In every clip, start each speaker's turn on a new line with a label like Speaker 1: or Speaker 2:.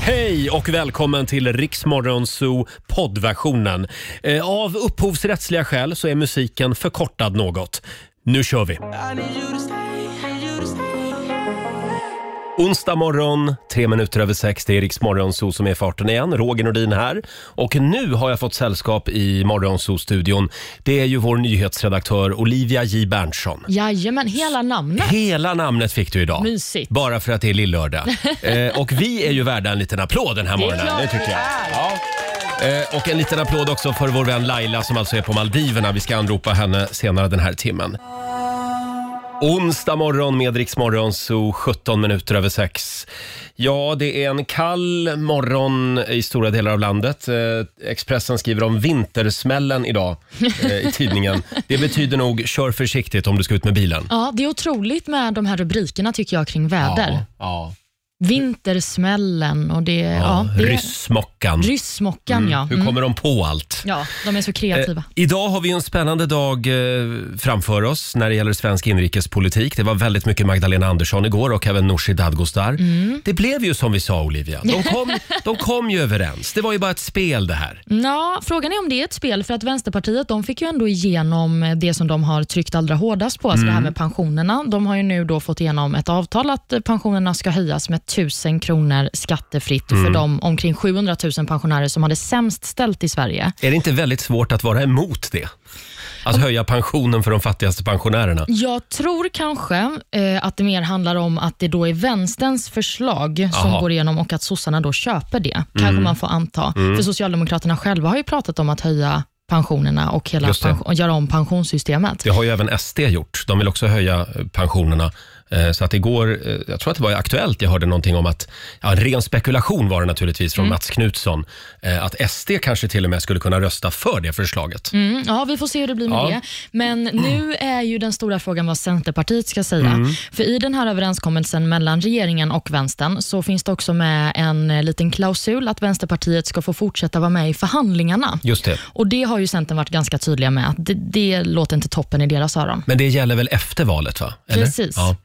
Speaker 1: Hej och välkommen till Riksmorgon Zoo poddversionen. Eh, Av upphovsrättsliga skäl så är musiken förkortad något. Nu kör vi! Onsdag morgon, tre minuter över sex. Det är Riksmorgon Zoo som är i farten igen. Roger Nordin här. Och nu har jag fått sällskap i Morgonzoo-studion. Det är ju vår nyhetsredaktör Olivia J Berntsson.
Speaker 2: Jajamän, hela namnet.
Speaker 1: Hela namnet fick du idag.
Speaker 2: Mysigt.
Speaker 1: Bara för att det är lillördag. eh, och vi är ju värda en liten applåd den här
Speaker 2: Det är
Speaker 1: morgonen.
Speaker 2: klart
Speaker 1: Det tycker
Speaker 2: vi
Speaker 1: jag.
Speaker 2: är.
Speaker 1: Ja. Eh, och en liten applåd också för vår vän Laila som alltså är på Maldiverna. Vi ska anropa henne senare den här timmen. Onsdag morgon med Rix Morgon, så 17 minuter över sex. Ja, det är en kall morgon i stora delar av landet. Eh, Expressen skriver om vintersmällen idag eh, i tidningen. Det betyder nog kör försiktigt om du ska ut med bilen.
Speaker 2: Ja, det är otroligt med de här rubrikerna tycker jag kring väder.
Speaker 1: Ja, ja.
Speaker 2: Vintersmällen och det... Ja, det är-
Speaker 1: Ryssmockan.
Speaker 2: Ryssmockan, ja.
Speaker 1: Hur
Speaker 2: Mm.
Speaker 1: kommer de på allt?
Speaker 2: Ja, de är så kreativa.
Speaker 1: Eh, Idag har vi en spännande dag eh, framför oss när det gäller svensk inrikespolitik. Det var väldigt mycket Magdalena Andersson igår och även Nooshi Dadgostar.
Speaker 2: Mm.
Speaker 1: Det blev ju som vi sa Olivia. De kom, de kom ju överens. Det var ju bara ett spel det här.
Speaker 2: Ja, frågan är om det är ett spel, för att Vänsterpartiet de fick ju ändå igenom det som de har tryckt allra hårdast på, alltså det här
Speaker 1: Mm.
Speaker 2: med pensionerna. De har ju nu då fått igenom ett avtal att pensionerna ska höjas med 1000 kronor skattefritt
Speaker 1: Mm.
Speaker 2: för de omkring 700 000 pensionärer som har det sämst ställt i Sverige.
Speaker 1: Är det inte väldigt svårt att vara emot det? Att höja pensionen för de fattigaste pensionärerna.
Speaker 2: Jag tror kanske eh, att det mer handlar om att det då är vänsterns förslag som
Speaker 1: Aha. Mm.
Speaker 2: går igenom och att sossarna då köper det, kanske man får anta. För Socialdemokraterna själva har ju pratat om att höja pensionerna och, hela
Speaker 1: Just det.
Speaker 2: pension, och göra om pensionssystemet.
Speaker 1: Det har ju även SD gjort. De vill också höja eh, pensionerna. Eh, Så att igår, eh, jag tror att det var i Aktuellt jag hörde någonting om att, ja, ren spekulation var det naturligtvis
Speaker 2: Mm.
Speaker 1: från Mats Knutsson, eh, att SD kanske till och med skulle kunna rösta för det förslaget.
Speaker 2: Mm, ja, vi får se hur det blir med
Speaker 1: Ja.
Speaker 2: det. Men nu är ju den stora frågan vad Centerpartiet ska säga.
Speaker 1: Mm.
Speaker 2: För i den här överenskommelsen mellan regeringen och vänstern så finns det också med en eh, liten klausul att Vänsterpartiet ska få fortsätta vara med i förhandlingarna.
Speaker 1: Just det.
Speaker 2: Och Det har ju Centern varit ganska tydliga med att det, det låter inte toppen i deras öron.
Speaker 1: Men det gäller väl efter valet? va?
Speaker 2: Precis.
Speaker 1: Ja.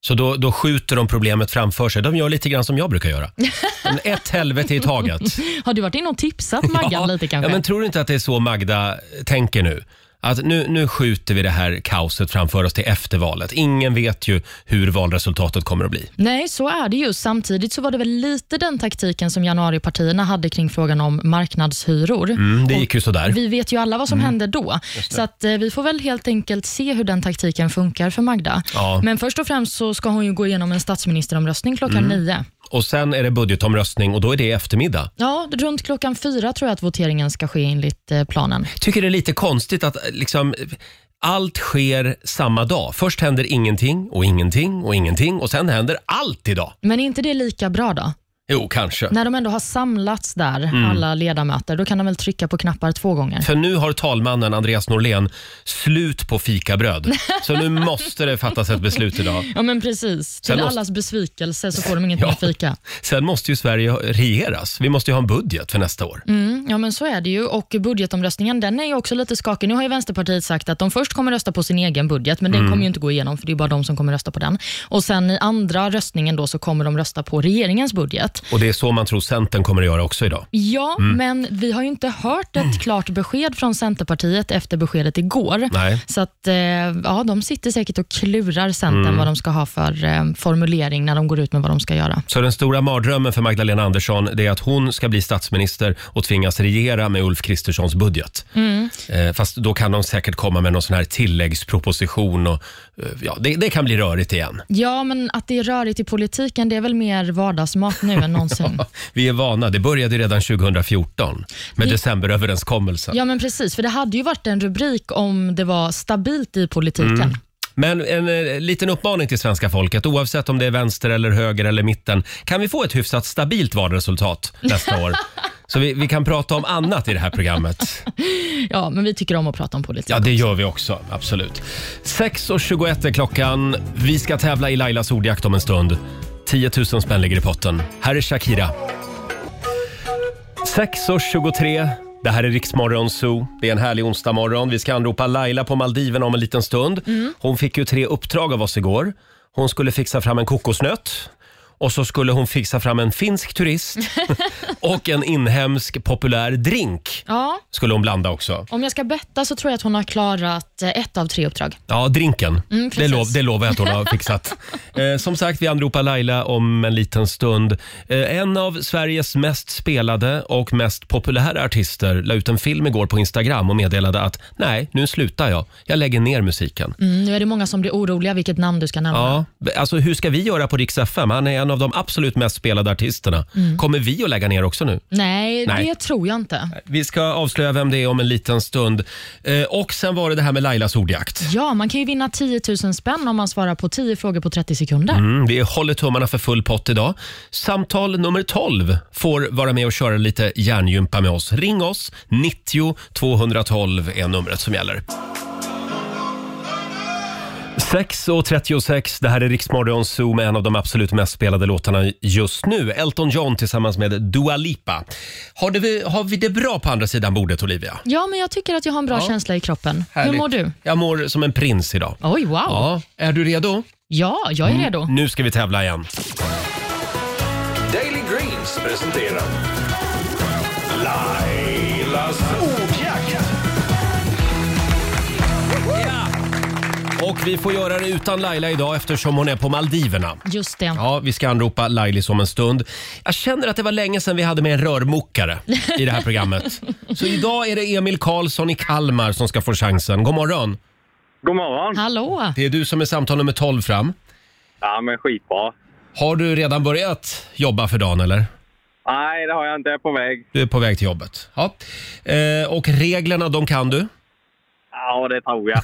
Speaker 1: Så då, då skjuter de problemet framför sig. De gör lite grann som jag brukar göra. Men Ett helvete i taget.
Speaker 2: Har du varit inne och tipsat Maggan lite kanske?
Speaker 1: Ja, men tror du inte att det är så Magda tänker nu? Att nu, nu skjuter vi det här kaoset framför oss till efter valet. Ingen vet ju hur valresultatet kommer att bli.
Speaker 2: Nej, så är det ju. Samtidigt så var det väl lite den taktiken som januaripartierna hade kring frågan om marknadshyror.
Speaker 1: Mm, Det gick ju sådär.
Speaker 2: Vi vet ju alla vad
Speaker 1: Mm.
Speaker 2: som hände då. Så att, eh, vi får väl helt enkelt se hur den taktiken funkar för Magda.
Speaker 1: Ja.
Speaker 2: Men först och främst så ska hon ju gå igenom en statsministeromröstning klockan
Speaker 1: Mm.
Speaker 2: nio.
Speaker 1: Och sen är det budgetomröstning och då är det i eftermiddag.
Speaker 2: Ja, runt klockan fyra tror jag att voteringen ska ske enligt eh, planen.
Speaker 1: Tycker det är lite konstigt att eh, liksom eh, allt sker samma dag. Först händer ingenting och ingenting och ingenting och sen händer allt idag.
Speaker 2: Men är inte det lika bra då?
Speaker 1: Jo, kanske.
Speaker 2: När de ändå har samlats där,
Speaker 1: Mm.
Speaker 2: alla ledamöter, då kan de väl trycka på knappar två gånger.
Speaker 1: För nu har talmannen Andreas Norlén slut på fikabröd. Så nu måste det fattas ett beslut idag.
Speaker 2: Ja, men precis. Till
Speaker 1: Sen måste-
Speaker 2: allas besvikelse så får de inget mer fika.
Speaker 1: Sen måste ju Sverige regeras. Vi måste ju ha en budget för nästa år.
Speaker 2: Mm, ja, men så är det ju. Och budgetomröstningen den är ju också lite skakig. Nu har ju Vänsterpartiet sagt att de först kommer rösta på sin egen budget, men
Speaker 1: Mm.
Speaker 2: den kommer ju inte gå igenom, för det är bara de som kommer rösta på den. Och sen i andra röstningen då så kommer de rösta på regeringens budget.
Speaker 1: Och det är så man tror Centern kommer att göra också idag.
Speaker 2: Ja,
Speaker 1: Mm.
Speaker 2: men vi har ju inte hört ett klart besked från Centerpartiet efter beskedet igår.
Speaker 1: Nej.
Speaker 2: Så att, eh, ja, de sitter säkert och klurar Centern
Speaker 1: Mm.
Speaker 2: vad de ska ha för eh, formulering när de går ut med vad de ska göra.
Speaker 1: Så den stora mardrömmen för Magdalena Andersson det är att hon ska bli statsminister och tvingas regera med Ulf Kristerssons budget. Eh, fast då kan de säkert komma med någon sån här tilläggsproposition. Och, eh, ja, det, det kan bli rörigt igen.
Speaker 2: Ja, men att det är rörigt i politiken, det är väl mer vardagsmat nu än någonsin.
Speaker 1: Vi är vana. Det började ju redan 2014 med
Speaker 2: Det-
Speaker 1: decemberöverenskommelsen.
Speaker 2: Ja, men precis. För det hade ju varit en rubrik om det var stabilt i politiken.
Speaker 1: Mm. Men en eh, liten uppmaning till svenska folket, oavsett om det är vänster eller höger eller mitten. Kan vi få ett hyfsat stabilt valresultat nästa år? Så vi, vi kan prata om annat i det här programmet.
Speaker 2: Ja, men vi tycker om att prata om politik.
Speaker 1: Ja, det gör vi också. Absolut. 6.21 är klockan. Vi ska tävla i Lailas ordjakt om en stund. 10 000 spänn ligger i potten. Här är Shakira. 6.23. Det här är Riksmorgon Zoo. Det är en härlig onsdagmorgon. Vi ska anropa Laila på Maldiven om en liten stund. Hon fick ju tre uppdrag av oss igår. Hon skulle fixa fram en kokosnöt. och så skulle hon fixa fram en finsk turist och en inhemsk populär drink
Speaker 2: Ja,
Speaker 1: skulle hon blanda också.
Speaker 2: om jag ska betta så tror jag att hon har klarat eh, ett av tre uppdrag.
Speaker 1: Ja, drinken.
Speaker 2: Mm,
Speaker 1: det,
Speaker 2: precis.
Speaker 1: lov, det lovar jag att hon har fixat. Eh, som sagt, vi anropar Laila om en liten stund. Eh, en av Sveriges mest spelade och mest populära artister la ut en film igår på Instagram och meddelade att nej, nu slutar jag. Jag lägger ner musiken.
Speaker 2: Mm, nu är det många som blir oroliga vilket namn du ska nämna.
Speaker 1: Ja, alltså hur ska vi göra på Rix FM? Han är en av de absolut mest spelade artisterna.
Speaker 2: Mm.
Speaker 1: Kommer vi att lägga ner också nu?
Speaker 2: Nej,
Speaker 1: Nej.
Speaker 2: det tror jag inte.
Speaker 1: Vi ska avslöja vem det är om en liten stund. Eh, och sen var det det här med Lailas ordjakt.
Speaker 2: Ja, man kan ju vinna 10 000 spänn om man svarar på 10 frågor på 30 sekunder.
Speaker 1: Mm, vi håller tummarna för full pott idag. Samtal nummer 12 får vara med och köra lite hjärngympa med oss. Ring oss, 90 212 är numret som gäller. 6.36, det här är Riksmorgon Zoo med en av de absolut mest spelade låtarna just nu. Elton John tillsammans med Dua Lipa. Har, det, har vi det bra på andra sidan bordet, Olivia?
Speaker 2: Ja, men jag tycker att jag har en bra
Speaker 1: Ja.
Speaker 2: känsla i kroppen. Hur
Speaker 1: Härligt.
Speaker 2: mår du?
Speaker 1: Jag mår som en prins idag.
Speaker 2: Oj, wow. Ja,
Speaker 1: Ja, Mm. är du redo?
Speaker 2: jag är redo.
Speaker 1: Nu ska vi tävla igen.
Speaker 3: Daily Greens presenterar Lailas ordjakt.
Speaker 1: Och vi får göra det utan Laila idag eftersom hon är på Maldiverna.
Speaker 2: Just det.
Speaker 1: Ja, vi ska anropa Lailis om en stund. Jag känner att det var länge sedan vi hade med en rörmokare i det här programmet. Så idag är det Emil Karlsson i Kalmar som ska få chansen. God morgon!
Speaker 4: God morgon!
Speaker 2: Hallå!
Speaker 1: Det är du som är samtal nummer 12 fram.
Speaker 4: Ja, men skitbra.
Speaker 1: Har du redan börjat jobba för dagen eller?
Speaker 4: Nej, det har jag inte. Jag är på väg.
Speaker 1: Du är på väg till jobbet. Ja. Eh, och reglerna, de kan du?
Speaker 4: Ja, det tror jag.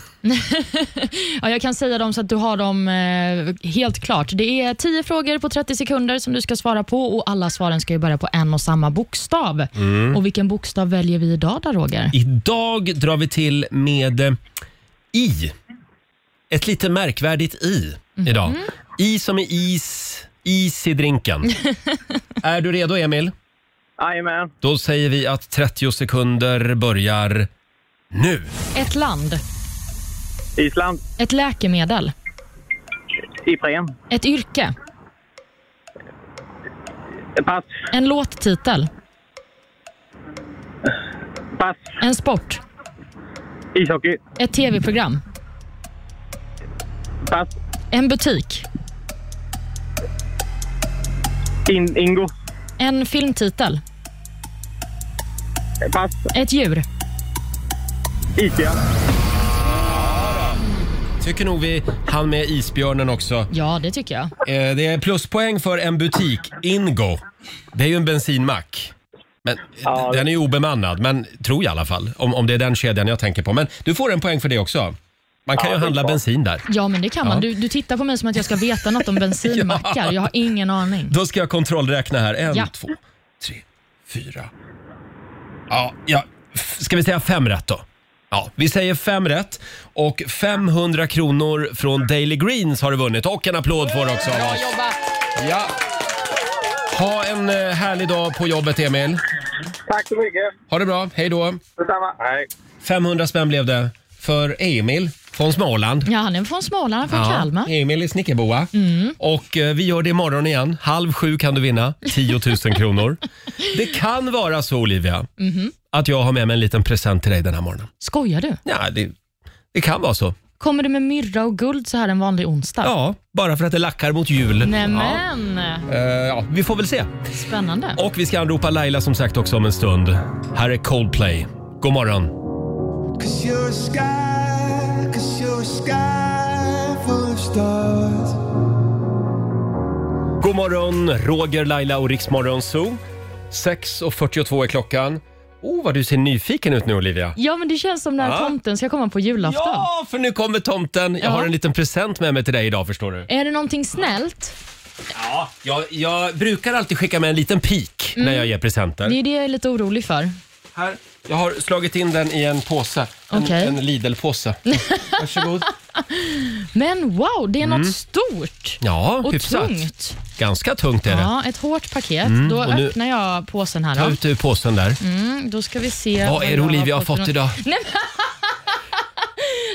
Speaker 2: Ja, jag kan säga dem så att du har dem eh, helt klart. Det är 10 frågor på 30 sekunder som du ska svara på och alla svaren ska ju börja på en och samma bokstav.
Speaker 1: Mm.
Speaker 2: Och Vilken bokstav väljer vi idag då, Roger?
Speaker 1: Idag drar vi till med eh, I. Ett lite märkvärdigt I idag. I som är is, is i drinken. är du redo Emil?
Speaker 4: Jajamän.
Speaker 1: Då säger vi att 30 sekunder börjar nu.
Speaker 2: Ett land,
Speaker 4: Island.
Speaker 2: ett läkemedel,
Speaker 4: Ipren.
Speaker 2: ett yrke,
Speaker 4: Pass.
Speaker 2: en låttitel,
Speaker 4: Pass.
Speaker 2: en sport,
Speaker 4: Ishockey.
Speaker 2: ett tv-program,
Speaker 4: Pass.
Speaker 2: en butik,
Speaker 4: In, Ingo.
Speaker 2: en filmtitel,
Speaker 4: Pass.
Speaker 2: ett djur.
Speaker 4: Ikea.
Speaker 1: Tycker nog vi han med isbjörnen också.
Speaker 2: Ja, det tycker jag.
Speaker 1: Eh, det är pluspoäng för en butik, Ingo. Det är ju en bensinmack. Men, eh,
Speaker 4: Ja.
Speaker 1: Den är ju obemannad, men tror jag i alla fall. Om, om det är den kedjan jag tänker på. Men du får en poäng för det också. Man kan
Speaker 4: Ja,
Speaker 1: ju
Speaker 4: det är
Speaker 1: handla
Speaker 4: bra.
Speaker 1: bensin där.
Speaker 2: Ja, men det kan man.
Speaker 1: Ja.
Speaker 2: Du, du tittar på mig som att jag ska veta något om bensinmackar. Jag har ingen aning.
Speaker 1: Då ska jag kontrollräkna här. En,
Speaker 2: Ja.
Speaker 1: två, tre, fyra. Ja, ja. f- Ska vi säga fem rätt då? Ja, vi säger fem rätt. Och 500 kronor från Daily Greens har du vunnit. Och en applåd får du också av oss. Ja. Ha en eh, härlig dag på jobbet, Emil.
Speaker 4: Tack så mycket.
Speaker 1: Ha det bra. Hej då.
Speaker 4: Detsamma. Hej.
Speaker 1: 500 spänn blev det för Emil från Småland.
Speaker 2: Ja, han är från Småland, han är Mm, från Kalmar. Mm.
Speaker 1: Emil i Snickerboa. Och eh, vi gör det imorgon igen. Halv sju kan du vinna 10 000 kronor. Det kan vara så, Olivia,
Speaker 2: Mhm.
Speaker 1: att jag har med mig en liten present till dig den här morgonen.
Speaker 2: Skojar du?
Speaker 1: Ja, det, det kan vara så.
Speaker 2: Kommer du med myrra och guld så här en vanlig onsdag?
Speaker 1: Ja, bara för att det lackar mot jul. Ja.
Speaker 2: Nämen,
Speaker 1: Eh, ja, vi får väl se.
Speaker 2: spännande.
Speaker 1: Och vi ska anropa Laila som sagt också om en stund. Här är Coldplay. God morgon.
Speaker 5: Cause you're a sky, cause you're a sky full of stars.
Speaker 1: God morgon, Roger, Laila och Riksmorgon Zoo. 6.42 är klockan. Oh, vad du ser nyfiken ut nu Olivia.
Speaker 2: Ja, men det känns som när
Speaker 1: Ja.
Speaker 2: tomten ska komma på julafton.
Speaker 1: Ja, för nu kommer tomten. Jag
Speaker 2: Ja.
Speaker 1: har en liten present med mig till dig idag förstår du.
Speaker 2: Är det någonting snällt?
Speaker 1: Ja, jag, jag brukar alltid skicka med en liten pik när jag ger presenter.
Speaker 2: Det är det jag är lite orolig för.
Speaker 1: Här, jag har slagit in den i en påse. En,
Speaker 2: Okej.
Speaker 1: en Lidl-påse. Varsågod.
Speaker 2: Men wow, det är något stort
Speaker 1: Mm. Ja,
Speaker 2: och
Speaker 1: hyfsat.
Speaker 2: tungt.
Speaker 1: Ganska tungt är det. Mm.
Speaker 2: Ja, ett hårt paket. Då
Speaker 1: och nu-
Speaker 2: öppnar jag påsen här.
Speaker 1: Ta
Speaker 2: Då.
Speaker 1: ut ur påsen där.
Speaker 2: Mm, då ska vi se.
Speaker 1: Vad är det
Speaker 2: jag
Speaker 1: Olivia har fått
Speaker 2: för nå-
Speaker 1: idag?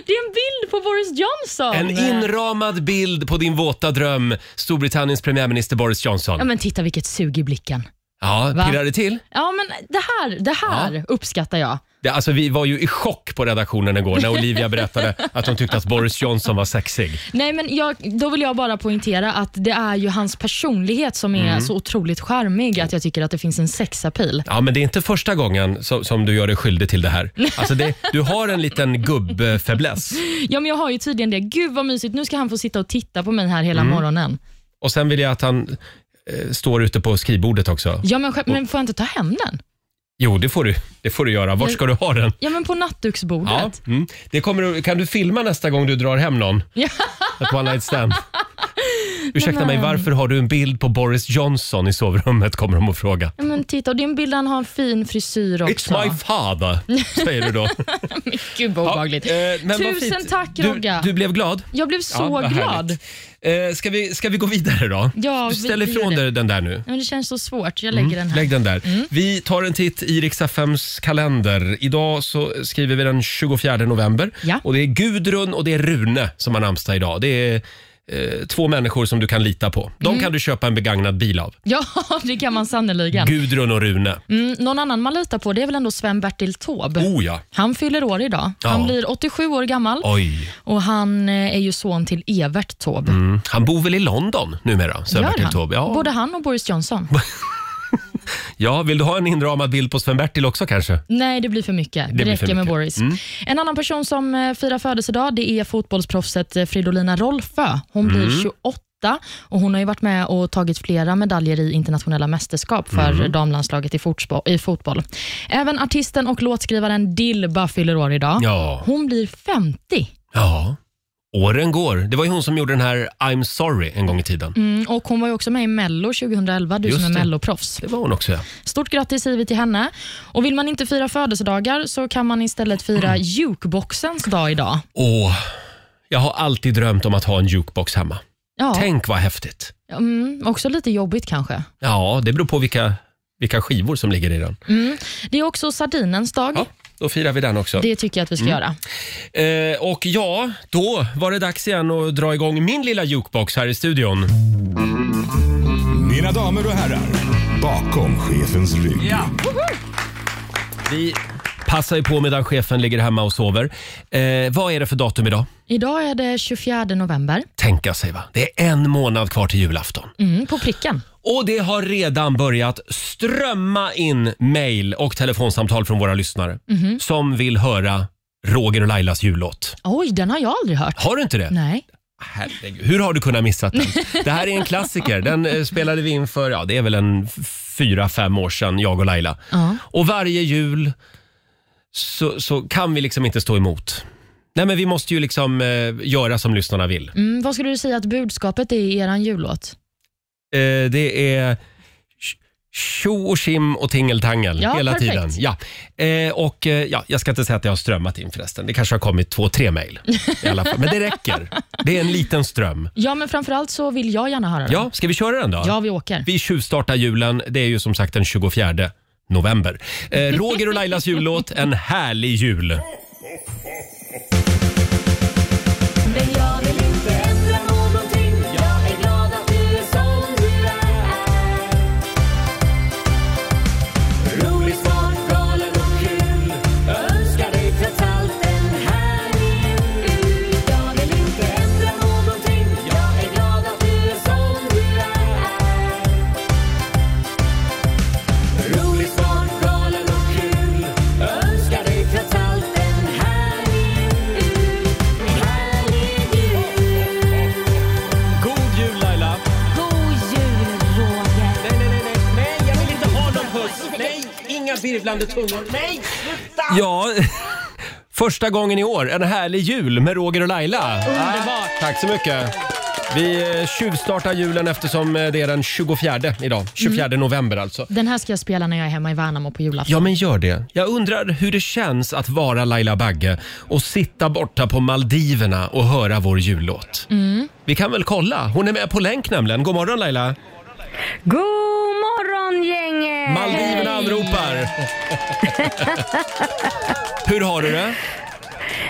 Speaker 2: Det är en bild på på Boris Johnson! Eh,
Speaker 1: En inramad bild på din våta dröm, Storbritanniens premiärminister Boris
Speaker 2: Ja,
Speaker 1: Johnson.
Speaker 2: men titta vilket sug i blicken.
Speaker 1: Ja,
Speaker 2: Va?
Speaker 1: pirrar det till?
Speaker 2: Ja, men det här, det här uppskattar jag.
Speaker 1: Det, alltså, vi var ju i chock på redaktionen igår när Olivia berättade att hon tyckte att Boris Johnson var sexig.
Speaker 2: Nej, men jag, då vill jag bara poängtera att det är ju hans personlighet som är
Speaker 1: Mm.
Speaker 2: så otroligt charmig att jag tycker att det finns en sexapil.
Speaker 1: Ja, men det är inte första gången som, som du gör dig skyldig till det här. Alltså, det, du har en liten gubbfäbless.
Speaker 2: Ja, men jag har ju tydligen det. Gud vad mysigt. Nu ska han få sitta och titta på mig här hela
Speaker 1: Mm.
Speaker 2: morgonen.
Speaker 1: Och sen vill jag att han eh, står ute på skrivbordet också.
Speaker 2: Ja, men, skä- men får jag inte ta hem den?
Speaker 1: Jo, det får du, det får du göra. Var ska du ha den?
Speaker 2: Ja, men på
Speaker 1: Ja,
Speaker 2: nattduksbordet.
Speaker 1: mm. det kommer, att- kan du filma nästa gång du drar hem någon?
Speaker 2: Ja.
Speaker 1: Ett one night stand. Ursäkta mig,
Speaker 2: Nämen.
Speaker 1: varför har du en bild på Boris Johnson i sovrummet? kommer de att fråga.
Speaker 2: Ja, men titta, och det är en bild han har en fin frisyr också.
Speaker 1: It's my father, säger du då.
Speaker 2: Gud vad
Speaker 1: Ja,
Speaker 2: obehagligt.
Speaker 1: eh, men vad
Speaker 2: Tusen
Speaker 1: fint.
Speaker 2: tack Rogga.
Speaker 1: Du, du blev glad?
Speaker 2: Jag blev så
Speaker 1: Ja, vad
Speaker 2: glad.
Speaker 1: härligt. Eh, ska, vi, ska vi gå vidare då?
Speaker 2: Ja,
Speaker 1: du
Speaker 2: vi-
Speaker 1: ställer
Speaker 2: vi
Speaker 1: ifrån
Speaker 2: gör
Speaker 1: dig den där nu.
Speaker 2: Men det känns så svårt. Jag lägger den här.
Speaker 1: Mm.
Speaker 2: Mm.
Speaker 1: Lägg den där. Vi tar en titt i Riks-FMs kalender. Idag så skriver vi den 24 november.
Speaker 2: Ja.
Speaker 1: Och Det är Gudrun och det är Rune som har namnsdag idag. Det är eh, två människor som du kan lita på. De
Speaker 2: Mm.
Speaker 1: kan du köpa en begagnad bil av.
Speaker 2: Ja, det kan man sannerligen.
Speaker 1: Gudrun och Rune.
Speaker 2: Mm, någon annan man litar på det är väl ändå Sven-Bertil Taube.
Speaker 1: Oh ja.
Speaker 2: Han fyller år idag. Han
Speaker 1: Ja.
Speaker 2: blir 87 år gammal
Speaker 1: Oj.
Speaker 2: och han eh, är ju son till Evert Taube.
Speaker 1: Mm. Han bor väl i London numera,
Speaker 2: Gör
Speaker 1: Sven-Bertil
Speaker 2: han?
Speaker 1: Taube? Ja.
Speaker 2: Både han och Boris Johnson.
Speaker 1: ja, vill du ha en inramad bild på Sven-Bertil också kanske?
Speaker 2: Nej, det blir för mycket. Det,
Speaker 1: blir för
Speaker 2: räcker med
Speaker 1: mycket. Mm.
Speaker 2: Boris. En annan person som eh, firar födelsedag det är fotbollsproffset eh, Fridolina Rolfö. Hon
Speaker 1: Mm.
Speaker 2: blir 28 och Hon har ju varit med och tagit flera medaljer i internationella mästerskap för
Speaker 1: Mm.
Speaker 2: damlandslaget i, fortspo- i fotboll. Även artisten och låtskrivaren Dilba fyller år idag.
Speaker 1: Ja.
Speaker 2: Hon blir 50
Speaker 1: Ja. Åren går. Det var ju hon som gjorde den här I'm sorry en gång i tiden.
Speaker 2: mm, och hon var ju också med i Mello 2011, du
Speaker 1: Just
Speaker 2: som är
Speaker 1: det.
Speaker 2: Melloproffs.
Speaker 1: Det var hon också ja.
Speaker 2: Stort grattis Sivi till henne. Och Vill man inte fira födelsedagar så kan man istället fira jukeboxens dag idag.
Speaker 1: Åh, jag har alltid drömt om att ha en jukebox hemma.
Speaker 2: Ja.
Speaker 1: Tänk vad häftigt.
Speaker 2: Mm, också lite jobbigt kanske.
Speaker 1: Ja, det beror på vilka, vilka skivor som ligger i
Speaker 2: Mm.
Speaker 1: den.
Speaker 2: Det är också sardinens dag.
Speaker 1: Ja, Mm. då firar vi den också.
Speaker 2: Det tycker jag att vi ska göra.
Speaker 1: Eh, och ja, då var det dags igen att dra igång min lilla jukebox här i studion.
Speaker 3: Mina damer och herrar, bakom chefens rygg.
Speaker 1: Vi passar ju på medan chefen ligger hemma och sover. Eh, vad är det för datum idag?
Speaker 2: Idag är det 24 november.
Speaker 1: Tänka sig va? Det är en månad kvar till julafton.
Speaker 2: Mm, på pricken.
Speaker 1: Och det har redan börjat strömma in mejl och telefonsamtal från våra lyssnare som vill höra Roger och Lailas jullåt.
Speaker 2: Oj, den har jag aldrig hört.
Speaker 1: Har du inte det?
Speaker 2: Nej.
Speaker 1: Herregud, hur har du kunnat missa den? Det här är en klassiker. Den eh, spelade vi in för, ja det är väl en f- fyra, fem år sedan, jag och Laila.
Speaker 2: Ja.
Speaker 1: Och varje jul så, så kan vi liksom inte stå emot. Nej men vi måste ju liksom eh, göra som lyssnarna vill.
Speaker 2: Mm, vad skulle du säga att budskapet är i er jullåt?
Speaker 1: Eh, det är tj- tjo och tjim och tingeltangel
Speaker 2: Ja,
Speaker 1: hela
Speaker 2: perfekt.
Speaker 1: tiden. Ja. Eh, och, eh, ja, jag ska inte säga att det har strömmat in förresten. Det kanske har kommit två, tre mejl i alla fall. Men det räcker. Det är en liten ström.
Speaker 2: Ja, men framförallt så vill jag gärna höra den.
Speaker 1: Ja, ska vi köra den då?
Speaker 2: ja vi åker.
Speaker 1: Vi tjuvstartar julen. Det är ju som sagt den 24 november. Eh, Roger och Lailas jullåt, en härlig jul.
Speaker 6: Men jag vill inte ändra någonting Jag är glad att du är som du är Rolig, smart, galen och kul Jag önskar dig trots allt en härlig jul Jag vill inte ändra någonting Jag är glad att du är som du är Rolig, smart, galen och kul Jag önskar dig trots allt en härlig jul Härlig jul
Speaker 1: God jul Laila!
Speaker 6: God jul, Roger!
Speaker 1: Nej, nej, nej, nej, jag vill inte ha någon puss! Nej, inga virvlande tungor! Nej, sluta! Ja, första gången i år, en härlig jul med Roger och Laila. Underbart! Tack så mycket. Vi eh, tjuvstartar julen eftersom eh, det är den 24 idag. 24 november alltså.
Speaker 2: Den här ska jag spela när jag är hemma i Värnamo på julafton.
Speaker 1: Ja, men gör det. Jag undrar hur det känns att vara Laila Bagge och sitta borta på Maldiverna och höra vår jullåt.
Speaker 7: Mm.
Speaker 1: Vi kan väl kolla? Hon är med på länk nämligen. God morgon Laila!
Speaker 7: God morgon gänget!
Speaker 1: Maldiverna anropar! hur har du det?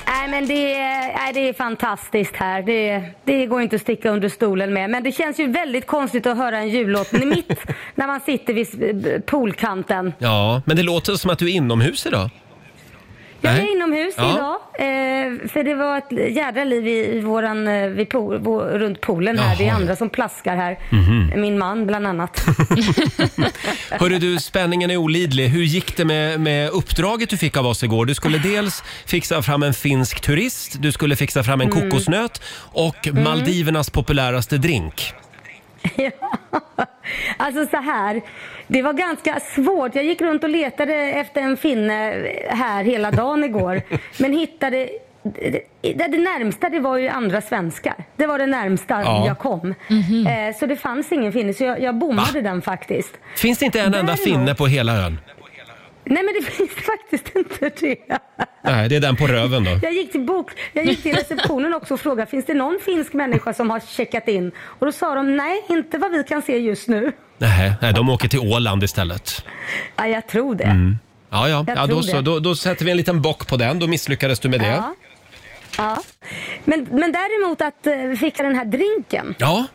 Speaker 7: Nej, men det, är- nej, det är fantastiskt här. Det, det går inte att sticka under stolen med. Men det känns ju väldigt konstigt att höra en jullåt mitt när man sitter vid s- poolkanten.
Speaker 1: Ja, men det låter som att du är inomhus idag.
Speaker 7: Jag
Speaker 1: Nej.
Speaker 7: är inomhus
Speaker 1: Ja.
Speaker 7: idag. Eh, för det var ett jädra liv i, i våran, eh, vid pool, vår, runt poolen här.
Speaker 1: Jaha,
Speaker 7: det är
Speaker 1: ja. Mhm.
Speaker 7: andra som plaskar här. Min man bland annat.
Speaker 1: Hörru du, spänningen är olidlig. Hur gick det med, med uppdraget du fick av oss igår? Du skulle dels fixa fram en finsk turist, du skulle fixa fram en
Speaker 7: Mm.
Speaker 1: kokosnöt och Maldivernas populäraste drink.
Speaker 7: Ja. Alltså så här. Det var ganska svårt. Jag gick runt och letade efter en finne här hela dagen igår. Men hittade... Det, det närmsta det var ju andra svenskar. Det var det närmsta
Speaker 1: Ja. Mhm.
Speaker 7: jag kom. Eh, så det fanns ingen finne. Så jag, jag bommade
Speaker 1: Va?
Speaker 7: den faktiskt.
Speaker 1: Finns det inte en enda
Speaker 7: Däremot-
Speaker 1: finne på hela ön?
Speaker 7: Nej men det finns faktiskt inte det.
Speaker 1: Nej, det är den på röven då.
Speaker 7: Jag gick till, bok, jag gick till receptionen också och frågade finns det någon finsk människa som har checkat in? Och då sa de nej, inte vad vi kan se just nu.
Speaker 1: Nej, nej de åker till Åland istället.
Speaker 7: Ja, jag tror det.
Speaker 1: Mm. Ja, ja,
Speaker 7: Jag
Speaker 1: ja då,
Speaker 7: tror
Speaker 1: så,
Speaker 7: det.
Speaker 1: då, då sätter vi en liten bock på den. Då misslyckades du med det.
Speaker 7: Ja. ja. Men, men däremot att eh, fixa den här drinken.
Speaker 1: Ja,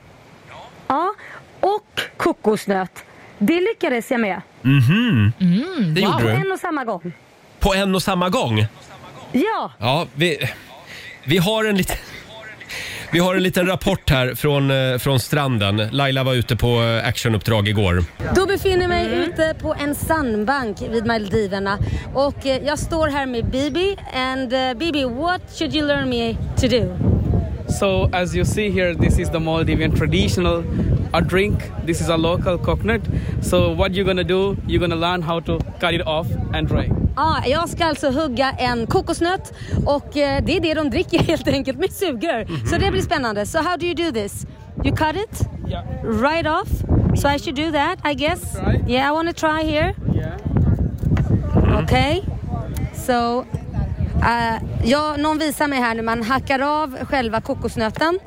Speaker 7: Ja. Och kokosnöt. Det lyckades jag med.
Speaker 1: det gjorde
Speaker 7: På
Speaker 1: du.
Speaker 7: en och samma gång.
Speaker 1: På en och samma gång.
Speaker 7: Ja.
Speaker 1: Ja, vi, vi har en liten... Vi har en liten rapport här från, eh, från stranden. Laila var ute på eh, actionuppdrag igår.
Speaker 8: Då befinner jag mig
Speaker 7: Mm.
Speaker 8: ute på en sandbank vid Maldiverna och eh, jag står här med Bibi and eh, Bibi what should you learn me to do?
Speaker 9: So as you see here, this is the Maldivian traditional a drink. This is a local coconut. So what you're gonna do? You're gonna learn how to cut it off and dry.
Speaker 8: Ja, jag ska alltså hugga en kokosnöt och eh, det är det de dricker helt enkelt med sugrör. Så det blir spännande. So how do you do this? You cut it
Speaker 9: Yeah.
Speaker 8: right off. So I should do that I guess.
Speaker 9: Try.
Speaker 8: Yeah, I wanna try here.
Speaker 9: Yeah.
Speaker 8: Okej. So, eh, ja, någon visar mig här nu. Man hackar av själva kokosnöten.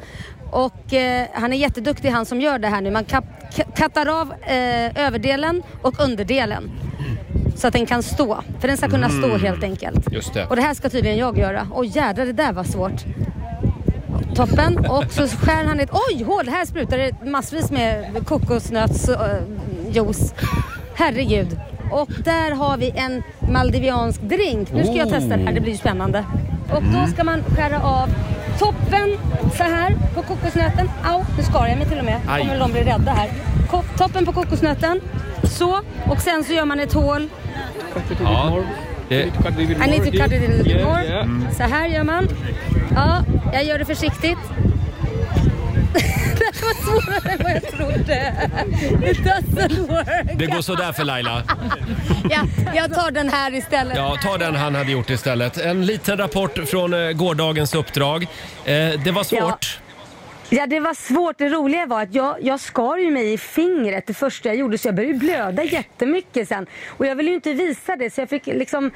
Speaker 8: Och eh, han är jätteduktig han som gör det här nu. Man kap- ka- kattar av eh, överdelen och underdelen. Så att den kan stå. För den ska kunna stå helt enkelt.
Speaker 1: Just det.
Speaker 8: Och det här ska tydligen jag göra. Oj jädrar, det där var svårt. Toppen. Och så skär han ett... Oj, hål! Här sprutar det massvis med kokosnötsjuice. Herregud. Och där har vi en maldiviansk drink. Nu ska jag testa det här, det blir ju spännande. Och
Speaker 9: Mm.
Speaker 8: då ska man skära av toppen så här på kokosnöten. Au, nu skar jag mig till och med.
Speaker 1: Aj.
Speaker 8: Kommer väl de bli rädda här. Ko- Toppen på kokosnöten. Så. Och sen så gör man ett hål
Speaker 9: Cut it a bit
Speaker 1: Ah.
Speaker 9: more.
Speaker 1: Yeah.
Speaker 9: You need to cut it a bit
Speaker 8: I need to
Speaker 9: more.
Speaker 8: cut it a little bit
Speaker 9: Yeah,
Speaker 8: more.
Speaker 9: yeah.
Speaker 8: Så här gör man. Ja, jag gör det försiktigt. det var svårare än vad jag trodde. It doesn't work.
Speaker 1: Det går sådär för Laila.
Speaker 8: Ja, jag tar den här istället.
Speaker 1: Ja, ta den han hade gjort istället. En liten rapport från eh, gårdagens uppdrag. Eh, det var svårt.
Speaker 7: Ja, det var svårt. Det roliga var att jag, jag skar ju mig i fingret det första jag gjorde så jag började ju blöda jättemycket sen. Och jag ville ju inte visa det så jag fick liksom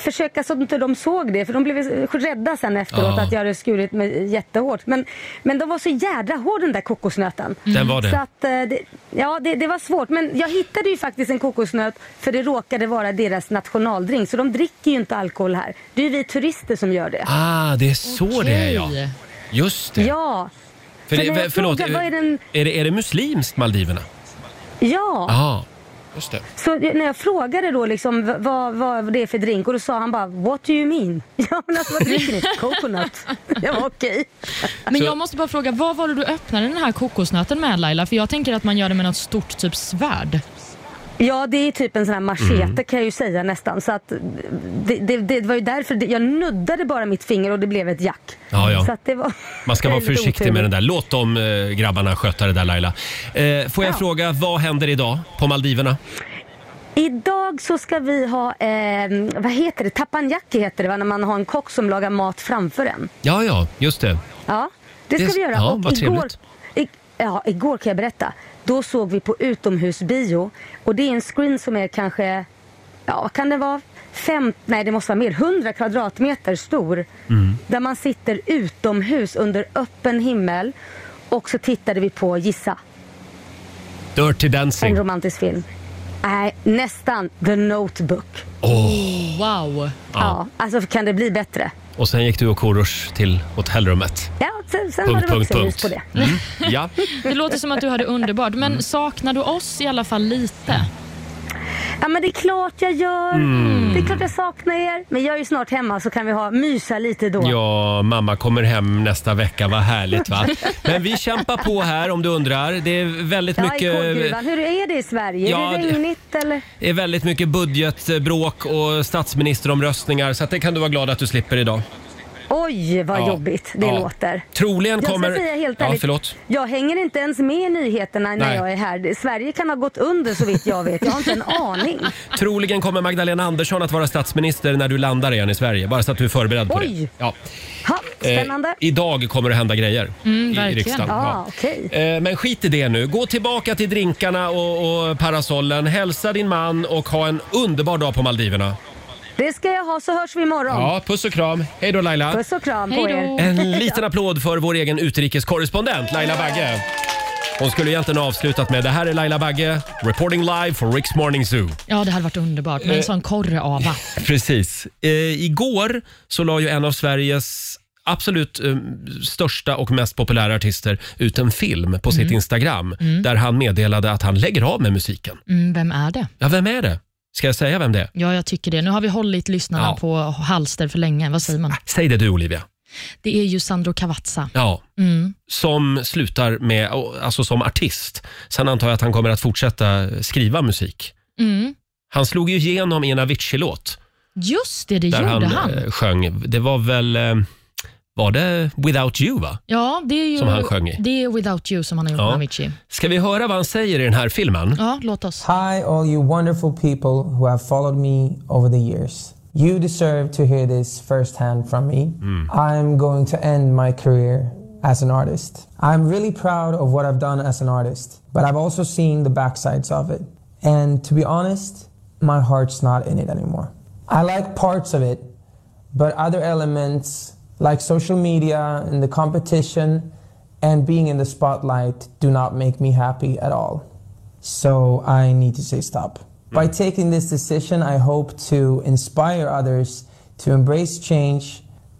Speaker 7: försöka så att inte de såg det för de blev rädda sen efteråt
Speaker 1: Ja.
Speaker 7: att jag hade skurit mig jättehårt. Men, men de var så jädra hård den där kokosnöten.
Speaker 1: Mm. Den var det.
Speaker 7: Så att, eh, det, ja, det, det var svårt. Men jag hittade ju faktiskt en kokosnöt för det råkade vara deras nationaldrink. Så de dricker ju inte alkohol här. Det är ju vi turister som gör det.
Speaker 1: Ah, det är så det är ja.
Speaker 2: Okej.
Speaker 1: Just det.
Speaker 7: Ja.
Speaker 1: För
Speaker 7: Men
Speaker 1: det-
Speaker 7: när jag
Speaker 1: förlåt,
Speaker 7: frågar, vad är
Speaker 1: är,
Speaker 7: den-
Speaker 1: det, är det muslimskt Maldiverna?
Speaker 7: Ja.
Speaker 1: Ja, just det.
Speaker 7: Så när jag frågade då liksom v- vad, vad det är för drink och då sa han bara What do you mean? Ja men alltså vad dricker ni? Coconut. Jag var okej.
Speaker 2: Men
Speaker 1: Så-
Speaker 2: jag måste bara fråga, vad var det du öppnade den här kokosnöten med Laila? För jag tänker att man gör det med något stort, typ svärd.
Speaker 7: Ja det är typ en sån här machete
Speaker 1: Mm.
Speaker 7: kan jag ju säga nästan. Så att det, det, det var ju därför det, jag nuddade bara mitt finger och det blev ett jack.
Speaker 1: Ja, ja.
Speaker 7: Så att det var
Speaker 1: Man ska vara
Speaker 7: väldigt
Speaker 1: försiktig
Speaker 7: oturligt.
Speaker 1: med den där. Låt de eh, grabbarna sköta det där Laila. Eh, får jag fråga, vad händer idag på Maldiverna?
Speaker 7: Idag så ska vi ha, eh, vad heter det, tapanjaki heter det va? När man har en kock som lagar mat framför en.
Speaker 1: Ja, ja, just det.
Speaker 7: Ja, det ska
Speaker 1: Det-
Speaker 7: vi göra.
Speaker 1: ja,
Speaker 7: Och
Speaker 1: vad
Speaker 7: igår,
Speaker 1: trevligt.
Speaker 7: i, ja, igår kan jag berätta. Då såg vi på utomhusbio och det är en screen som är kanske, ja vad kan det vara? Fem, nej det måste vara mer, 100 kvadratmeter stor.
Speaker 1: Mm.
Speaker 7: Där man sitter utomhus under öppen himmel och så tittade vi på Gissa,
Speaker 1: Dirty
Speaker 7: en
Speaker 1: Dancing.
Speaker 7: romantisk film. Nej, nästan The Notebook.
Speaker 1: Åh,
Speaker 2: Wow.
Speaker 7: Ja, alltså kan det bli bättre?
Speaker 1: Och sen gick du och Korosh till hotellrummet.
Speaker 7: Ja, sen, sen var
Speaker 1: Punkt,
Speaker 7: det
Speaker 1: punkt,
Speaker 7: vuxenmys
Speaker 1: punkt.
Speaker 7: på det.
Speaker 1: Mm. Ja.
Speaker 2: Det låter som att du hade underbart. Men
Speaker 1: Mm.
Speaker 2: saknar du oss i alla fall lite?
Speaker 7: Ja men det är klart jag gör.
Speaker 1: Mm.
Speaker 7: Det är klart jag saknar er. Men jag är ju snart hemma så kan vi ha mysa lite då.
Speaker 1: Ja, mamma kommer hem nästa vecka. Vad härligt va? Men vi kämpar på här om du undrar. Det är väldigt
Speaker 7: Ja, i
Speaker 1: mycket...
Speaker 7: kolgruvan. Hur är det i Sverige?
Speaker 1: Ja,
Speaker 7: är
Speaker 1: det-
Speaker 7: det regnigt eller?
Speaker 1: Det är väldigt mycket budgetbråk och statsministeromröstningar så att det kan du vara glad att du slipper idag.
Speaker 7: Oj, vad
Speaker 1: Ja.
Speaker 7: jobbigt det
Speaker 1: Ja.
Speaker 7: låter.
Speaker 1: Troligen
Speaker 7: Jag
Speaker 1: kommer...
Speaker 7: ska säga helt
Speaker 1: ja,
Speaker 7: ärligt,
Speaker 1: förlåt.
Speaker 7: jag hänger inte ens med i nyheterna när
Speaker 1: Nej.
Speaker 7: jag är här. Det- Sverige kan ha gått under så vitt jag vet. Jag har inte en aning.
Speaker 1: Troligen kommer Magdalena Andersson att vara statsminister när du landar igen i Sverige. Bara så att du är förberedd på det.
Speaker 7: Oj.
Speaker 1: Ja.
Speaker 7: Ha,
Speaker 1: Eh,
Speaker 7: spännande.
Speaker 1: idag kommer det hända grejer i
Speaker 2: verkligen.
Speaker 1: riksdagen.
Speaker 7: Ja, okej.
Speaker 1: Eh, Men skit i det nu. Gå tillbaka till drinkarna och, och parasollen. Hälsa din man och ha en underbar dag på Maldiverna.
Speaker 7: Det ska jag ha så hörs vi imorgon.
Speaker 1: Ja, puss och kram. Hej då Laila.
Speaker 7: Puss och kram
Speaker 2: Hej
Speaker 7: på
Speaker 2: då.
Speaker 7: er.
Speaker 1: En liten applåd för vår egen utrikeskorrespondent Laila Bagge. Hon skulle egentligen ha avslutat med “Det här är Laila Bagge, reporting live for Rick's Morning Zoo”.
Speaker 2: Ja, det hade varit underbart.
Speaker 1: Eh.
Speaker 2: Men en sån korre-ava.
Speaker 1: Precis. Eh, igår så la ju en av Sveriges absolut eh, största och mest populära artister ut en film på
Speaker 2: Mm.
Speaker 1: sitt Instagram där han meddelade att han lägger av med musiken.
Speaker 2: Mm, vem är det?
Speaker 1: Ja, vem är det? Ska jag säga vem det är?
Speaker 2: Ja, jag tycker det. Nu har vi hållit lyssnarna
Speaker 1: Ja. Ah.
Speaker 2: på halster för länge. Vad säger man?
Speaker 1: Säg det du Olivia.
Speaker 2: Det är ju Sandro Cavazza.
Speaker 1: Ja.
Speaker 2: Mm.
Speaker 1: Som slutar med, alltså som artist. Sen antar jag att han kommer att fortsätta skriva musik.
Speaker 2: Mm.
Speaker 1: Han slog ju igenom i en Avicii-låt.
Speaker 2: Just det, det
Speaker 1: Där
Speaker 2: gjorde
Speaker 1: han,
Speaker 2: han.
Speaker 1: eh, sjöng. Det var väl... eh, Var det Without You, va?
Speaker 2: Ja, det är ju,
Speaker 1: Som han sjöng i.
Speaker 2: Det är Without You som han har gjort
Speaker 1: Ja.
Speaker 2: med Avicii.
Speaker 1: Ska vi höra vad han säger i den här filmen?
Speaker 2: Ja, låt oss.
Speaker 10: Hi, all you wonderful people who have followed me over the years. You deserve to hear this firsthand from me. I'm going to end my career as an artist. I'm really proud of what I've done as an artist, but I've also seen the backsides of it. And to be honest, my heart's not in it anymore. I like parts of it, but other elements like social media and the competition and being in the spotlight do not make me happy at all. So I need to say stop. By taking this decision, I hope to inspire others to embrace change,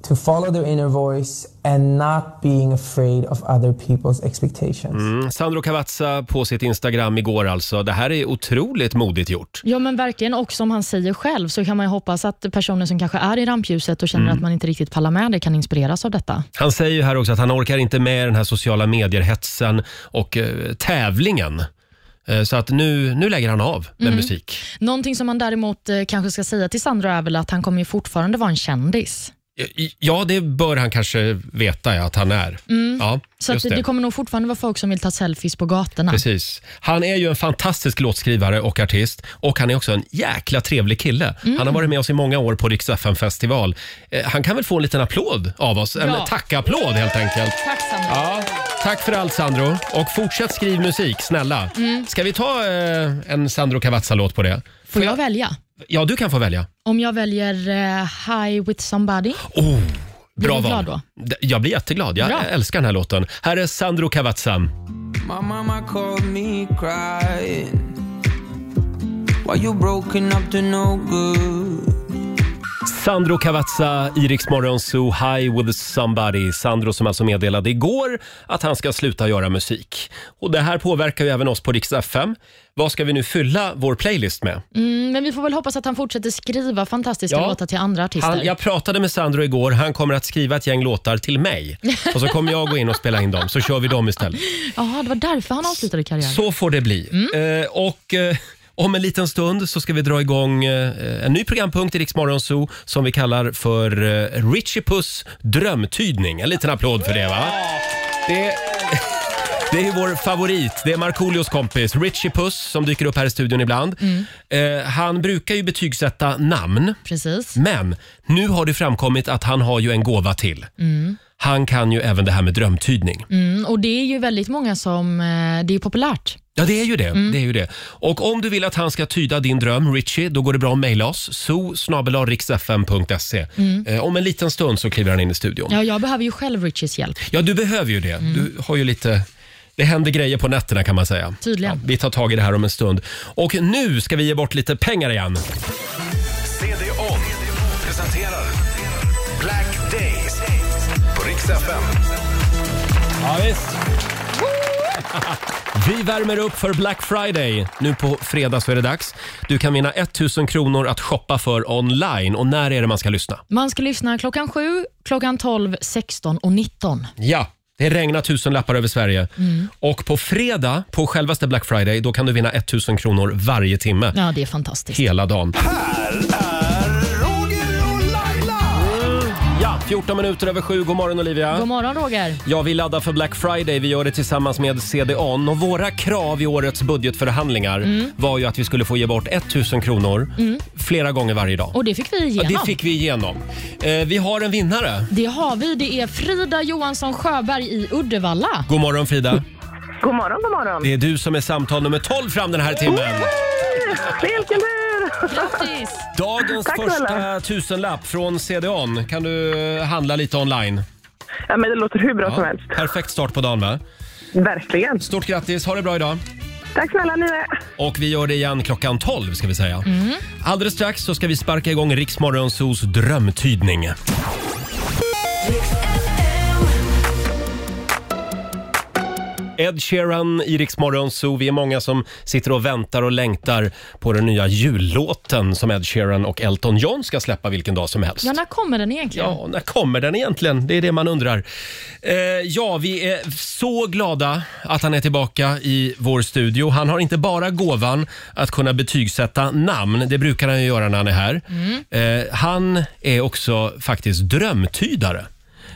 Speaker 10: to follow their inner voice, and not being afraid of other people's expectations.
Speaker 1: Mm, Sandro Cavazza på sitt Instagram igår alltså. Det här är otroligt modigt gjort.
Speaker 2: Ja, men verkligen. Och som han säger själv så kan man ju hoppas att personer som kanske är i rampljuset och känner
Speaker 1: Mm.
Speaker 2: att man inte riktigt pallar med det kan inspireras av detta.
Speaker 1: Han säger ju här också att han orkar inte med den här sociala medier-hetsen och eh, tävlingen. Eh, så att nu, nu lägger han av med
Speaker 2: Mm.
Speaker 1: musik.
Speaker 2: Någonting som man däremot eh, kanske ska säga till Sandro är väl att han kommer ju fortfarande vara en kändis.
Speaker 1: Ja, det bör han kanske veta ja, att han är. Ja,
Speaker 2: Mm. Så att
Speaker 1: just
Speaker 2: det.
Speaker 1: det.
Speaker 2: kommer nog fortfarande vara folk som vill ta selfies på gatorna.
Speaker 1: Precis. Han är ju en fantastisk låtskrivare och artist och han är också en jäkla trevlig kille.
Speaker 2: Mm.
Speaker 1: Han har varit med oss i många år på Rix FM festival. Eh, Han kan väl få en liten applåd av oss? En
Speaker 2: Ja.
Speaker 1: tackapplåd helt enkelt.
Speaker 2: Tack Sandro.
Speaker 1: Ja, tack för allt Sandro och fortsätt skriv musik, snälla.
Speaker 2: Mm.
Speaker 1: Ska vi ta eh, en Sandro Cavazza-låt på det?
Speaker 2: Får jag välja?
Speaker 1: Ja, du kan få välja.
Speaker 2: Om jag väljer eh, High with somebody?
Speaker 1: Oh,
Speaker 2: Blir
Speaker 1: bra val.
Speaker 2: du glad då?
Speaker 1: D- Jag blir jätteglad. Jag
Speaker 2: Bra.
Speaker 1: älskar den här låten. Här är Sandro Cavazza.
Speaker 10: My mama called me crying. Why you broken up to no good?
Speaker 1: Sandro Cavazza, Iriks morgonzoo, High with somebody. Sandro som alltså meddelade igår att han ska sluta göra musik. Och Det här påverkar ju även oss på Rix FM. Vad ska vi nu fylla vår playlist med?
Speaker 2: Mm, men vi får väl hoppas att han fortsätter skriva fantastiska
Speaker 1: Ja.
Speaker 2: låtar till andra artister.
Speaker 1: Han, jag pratade med Sandro igår. Han kommer att skriva ett gäng låtar till mig. Och så kommer jag gå in och spela in dem, så kör vi dem istället.
Speaker 2: Jaha, det var därför han avslutade karriären.
Speaker 1: Så får det bli. Eh, och eh, om en liten stund så ska vi dra igång eh, en ny programpunkt i Rix Morgonzoo som vi kallar för eh, Richie Puss drömtydning. En liten applåd för det va? Det... Det är vår favorit. Det är Markoolios kompis Richie Puss som dyker upp här i studion ibland. Eh, han brukar ju betygsätta namn,
Speaker 2: Precis.
Speaker 1: men nu har det framkommit att han har ju en gåva till. Han kan ju även det här med drömtydning.
Speaker 2: Mm, och det är ju väldigt många som... Eh, det är populärt.
Speaker 1: Ja, det är ju det. det, är ju det. Och om du vill att han ska tyda din dröm, Richie, då går det bra att mejla oss. zoo mm. Om en liten stund så kliver han in i studion. Ja, Mm.
Speaker 2: Ja, jag behöver ju själv Richies hjälp.
Speaker 1: du behöver ju det. Du har ju lite... Det händer grejer på nätterna kan man säga.
Speaker 2: Tydligen.
Speaker 1: vi tar tag i det här om en stund. Och nu ska vi ge bort lite pengar igen.
Speaker 3: CD-ON presenterar Black
Speaker 11: Rix FM.
Speaker 1: Ja, visst. Vi värmer upp för Black Friday. Nu på fredag så är det dags. Du kan vinna 1000 kronor att shoppa för online. Och när är det man ska lyssna?
Speaker 2: Man ska lyssna klockan 7, klockan 12, 16 och 19.
Speaker 1: Ja, det regnar tusen lappar över Sverige.
Speaker 2: Mm.
Speaker 1: Och på fredag, på självaste Black Friday, då kan du vinna 1000 kronor varje timme.
Speaker 2: Ja, det är fantastiskt.
Speaker 1: Hela dagen. Ja, 14 minuter över sju. God morgon Olivia.
Speaker 2: God morgon Roger.
Speaker 1: Ja, vi laddar för Black Friday. Vi gör det tillsammans med CDON. Och våra krav i årets budgetförhandlingar
Speaker 2: Mm.
Speaker 1: var ju att vi skulle få ge bort 1000 kronor
Speaker 2: Mm.
Speaker 1: flera gånger varje dag.
Speaker 2: Och det fick vi
Speaker 1: Ja,
Speaker 2: igenom.
Speaker 1: det fick vi igenom. Eh, vi har en vinnare.
Speaker 2: Det har vi. Det är Frida Johansson Sjöberg i Uddevalla.
Speaker 1: God morgon Frida.
Speaker 2: God morgon, god morgon.
Speaker 1: Det är du som är samtal nummer 12 fram den här timmen.
Speaker 12: Vilken tur!
Speaker 2: Grattis!
Speaker 1: Dagens
Speaker 12: Tack snälla.
Speaker 1: första tusenlapp från CDON. Kan du eh, handla lite online?
Speaker 12: Ja, men det låter hur bra
Speaker 1: Ja,
Speaker 12: som helst.
Speaker 1: Perfekt start på dagen va?
Speaker 12: Verkligen.
Speaker 1: Stort grattis, ha det bra idag.
Speaker 12: Tack snälla ni med.
Speaker 1: Och vi gör det igen klockan 12 ska vi säga.
Speaker 12: Mm.
Speaker 1: Alldeles strax så ska vi sparka igång Riksmorgonsos drömtydning. Ed Sheeran i Rix Morgon Zoo. Vi är många som sitter och väntar och längtar på den nya jullåten som Ed Sheeran och Elton John ska släppa vilken dag som helst.
Speaker 2: Ja, när kommer den egentligen?
Speaker 1: Ja, när kommer den egentligen? Det är det man undrar. Eh, ja, vi är så glada att han är tillbaka i vår studio. Han har inte bara gåvan att kunna betygsätta namn, det brukar han ju göra när han är här. Eh, han är också faktiskt drömtydare.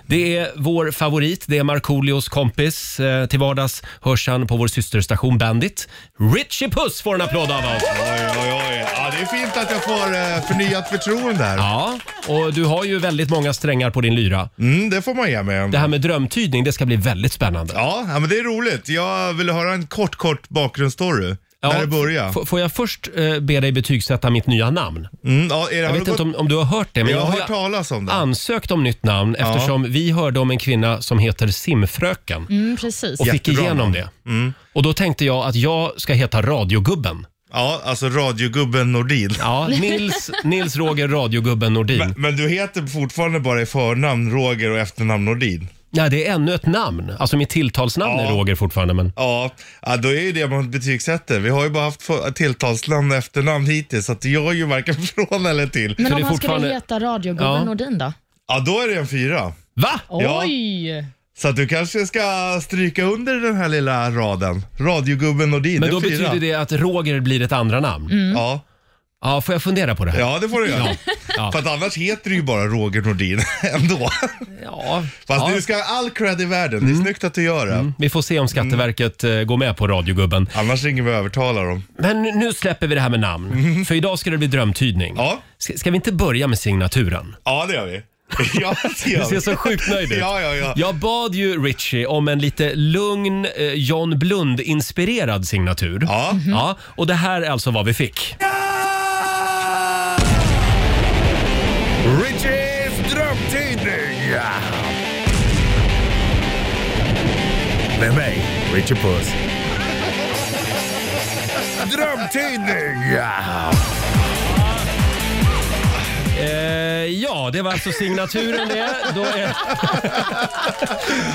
Speaker 1: Det är vår favorit, det är Markoolios kompis. Eh, till vardags hörs han på vår systerstation Bandit. Richie Puss får en applåd av oss!
Speaker 13: Ja, det är fint att jag får eh, förnyat förtroende här.
Speaker 1: Ja, och du har ju väldigt många strängar på din lyra.
Speaker 13: Mm, det får man ge mig.
Speaker 1: Det här med drömtydning, det ska bli väldigt spännande.
Speaker 13: Ja, ja, men det är roligt. Jag vill höra en kort, kort bakgrundsstory. när det började.
Speaker 1: f- Får jag först eh, be dig betygsätta mitt nya namn?
Speaker 13: Mm, ja, är det-
Speaker 1: jag
Speaker 13: har
Speaker 1: vet inte
Speaker 13: du gått-
Speaker 1: om, om du har hört det, men
Speaker 13: Jag
Speaker 1: jag,
Speaker 13: har
Speaker 1: ju
Speaker 13: hört talas om det.
Speaker 1: ansökt om nytt namn
Speaker 13: Ja.
Speaker 1: eftersom vi hörde om en kvinna som heter Simfröken
Speaker 2: Mm, precis.
Speaker 1: och fick igenom det.
Speaker 13: Mm.
Speaker 1: Och då tänkte jag att jag ska heta Radiogubben.
Speaker 13: Ja, alltså radiogubben Nordin.
Speaker 1: Ja, Nils, Nils Roger radiogubben Nordin.
Speaker 13: Men, men du heter fortfarande bara i förnamn Roger och efternamn Nordin?
Speaker 1: Ja, det är ännu ett namn. Alltså mitt tilltalsnamn är Roger fortfarande. Men...
Speaker 13: Ja, ja, då är ju det man betygsätter. Vi har ju bara haft för- tilltalsnamn och efternamn hittills, så att jag är ju varken från eller till.
Speaker 2: Men om han skulle heta radiogubben
Speaker 13: Ja.
Speaker 2: Nordin då?
Speaker 13: Ja, då är det en fyra.
Speaker 1: Va?
Speaker 13: Ja.
Speaker 2: Oj!
Speaker 13: Så att du kanske ska stryka under den här lilla raden. Radiogubben Nordin,
Speaker 1: Men
Speaker 13: det
Speaker 1: då
Speaker 13: är fyra.
Speaker 1: betyder det att Roger blir ett andra namn?
Speaker 13: Mm. Ja.
Speaker 1: Ja, får jag fundera på det här?
Speaker 13: Ja, det får du göra.
Speaker 1: Ja.
Speaker 13: För att annars heter du ju bara Roger Nordin ändå.
Speaker 1: Ja.
Speaker 13: Fast
Speaker 1: Ja. Mm.
Speaker 13: du ska ha all cred i världen. Det är snyggt att du gör det.
Speaker 1: Vi får
Speaker 13: Mm.
Speaker 1: se om Skatteverket eh, går med på radiogubben.
Speaker 13: Annars ringer vi och övertalar dem.
Speaker 1: Men nu släpper vi det här med namn,
Speaker 13: Mm.
Speaker 1: för idag ska det bli drömtydning. Ja. Ska, ska vi inte börja med signaturen?
Speaker 13: Ja, det gör vi. Ja, det gör
Speaker 1: Du ser
Speaker 13: vi.
Speaker 1: så sjukt nöjd ut.
Speaker 13: Ja, ja, ja.
Speaker 1: Jag bad ju Richie om en lite lugn eh, John Blund-inspirerad signatur. Ja. ja. Och det här är alltså vad vi fick.
Speaker 11: Richies drömtidning! Med mig, Richie Puss. Drömtidning!
Speaker 1: Eh, ja, det var alltså signaturen det. Då är,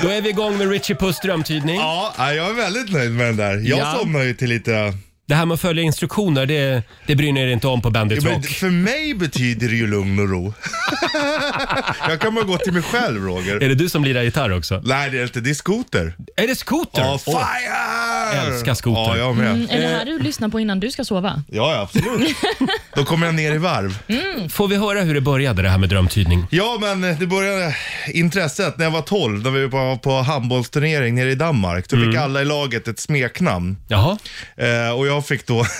Speaker 1: då är vi igång med Richie Puss drömtydning.
Speaker 13: Ja, jag är väldigt nöjd med den där. Jag
Speaker 1: Ja.
Speaker 13: somnar ju till lite...
Speaker 1: Det här med att följa instruktioner, det, det bryr ni er inte om på
Speaker 13: Ja,
Speaker 1: Bandit
Speaker 13: men
Speaker 1: Rock.
Speaker 13: för mig betyder det ju lugn och ro. jag kan bara gå till mig själv, Roger.
Speaker 1: Är det du som lirar gitarr också?
Speaker 13: Nej, det är inte. Det är skoter.
Speaker 1: Är det skoter?
Speaker 13: Ja,
Speaker 1: Åh.
Speaker 13: fire!
Speaker 1: Älskar skoter.
Speaker 13: Ja, jag med.
Speaker 2: Mm, är det här du lyssnar på innan du ska sova?
Speaker 13: Ja, ja, absolut. Då kommer jag ner i varv.
Speaker 1: Får vi höra hur det började det här med drömtydning?
Speaker 13: Ja, men det började intresset när jag var 12, när vi var på handbollsturnering nere i Danmark. Då
Speaker 1: Mm.
Speaker 13: fick alla i laget ett smeknamn.
Speaker 1: Jaha.
Speaker 13: Eh, och jag fick då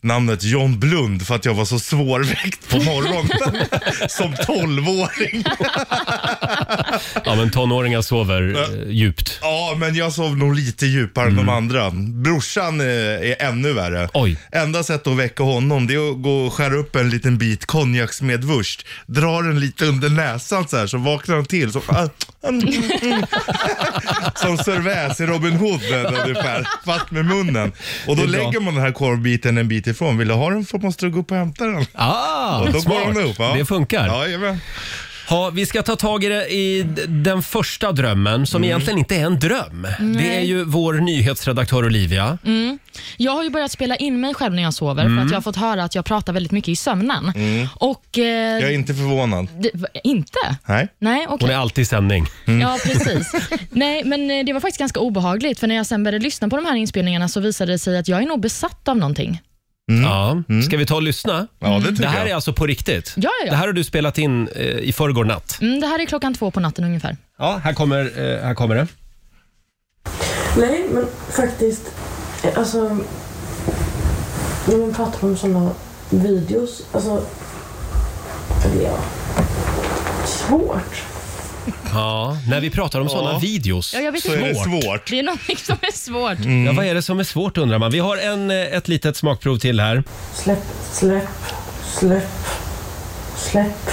Speaker 13: namnet John Blund för att jag var så svårväckt på morgonen som 12-åring.
Speaker 1: Ja, men tonåringar sover eh, djupt.
Speaker 13: Ja, men jag sov nog lite djupare än de andra. Brorsan eh, är ännu värre.
Speaker 1: Mm. Oj.
Speaker 13: Enda sättet att väcka honom det är att gå och skära upp en liten bit konjaksmedvurst, dra den lite under näsan så här så vaknar han till. Så, ah, mm, som Cervais i Robin Hood eh, ungefär, fast med munnen. Och då
Speaker 1: Det är bra.
Speaker 13: lägger man den här korvbiten en bit ifrån. Vill du ha den får måste du gå upp och hämta den.
Speaker 1: Ah,
Speaker 13: och då går
Speaker 1: smart.
Speaker 13: den upp. Ja.
Speaker 1: Det funkar.
Speaker 13: Ja, jajamän.
Speaker 1: Ja, vi ska ta tag i, det, i d- den första drömmen som
Speaker 2: Mm.
Speaker 1: egentligen inte är en dröm. Det
Speaker 2: Nej.
Speaker 1: är ju vår nyhetsredaktör Olivia.
Speaker 2: Mm. Jag har ju börjat spela in mig själv när jag sover
Speaker 13: Mm.
Speaker 2: för att jag har fått höra att jag pratar väldigt mycket i sömnen.
Speaker 13: Mm.
Speaker 2: Och... Eh,
Speaker 13: Jag är inte förvånad.
Speaker 2: det, va- inte?
Speaker 13: Nej.
Speaker 2: Nej, okej.
Speaker 1: alltid i sändning.
Speaker 2: Ja, precis. Nej, men eh, det var faktiskt ganska obehagligt för när jag sen började lyssna på de här inspelningarna så visade det sig att jag är nog besatt av någonting.
Speaker 1: Ja. Ska vi ta och lyssna?
Speaker 13: Ja, det tycker
Speaker 1: här
Speaker 13: jag.
Speaker 1: är alltså på riktigt?
Speaker 2: Ja, ja, ja.
Speaker 1: Det här har du spelat in eh, i förrgår natt.
Speaker 2: Mm, det här är klockan två på natten ungefär.
Speaker 1: Ja, här kommer, eh, här kommer det.
Speaker 14: Nej, men faktiskt. eh, Alltså, när man pratar om sådana videos, alltså... Eller ja, svårt.
Speaker 1: Ja, när vi pratar om
Speaker 2: Ja.
Speaker 1: sådana videos
Speaker 2: Ja, jag vet
Speaker 1: så
Speaker 2: inte.
Speaker 1: är det Mm. svårt.
Speaker 2: Det är någonting som är svårt.
Speaker 1: Ja, vad är det som är svårt undrar man. Vi har en, eh, ett litet smakprov till här.
Speaker 14: Släpp, släpp, släpp, släpp.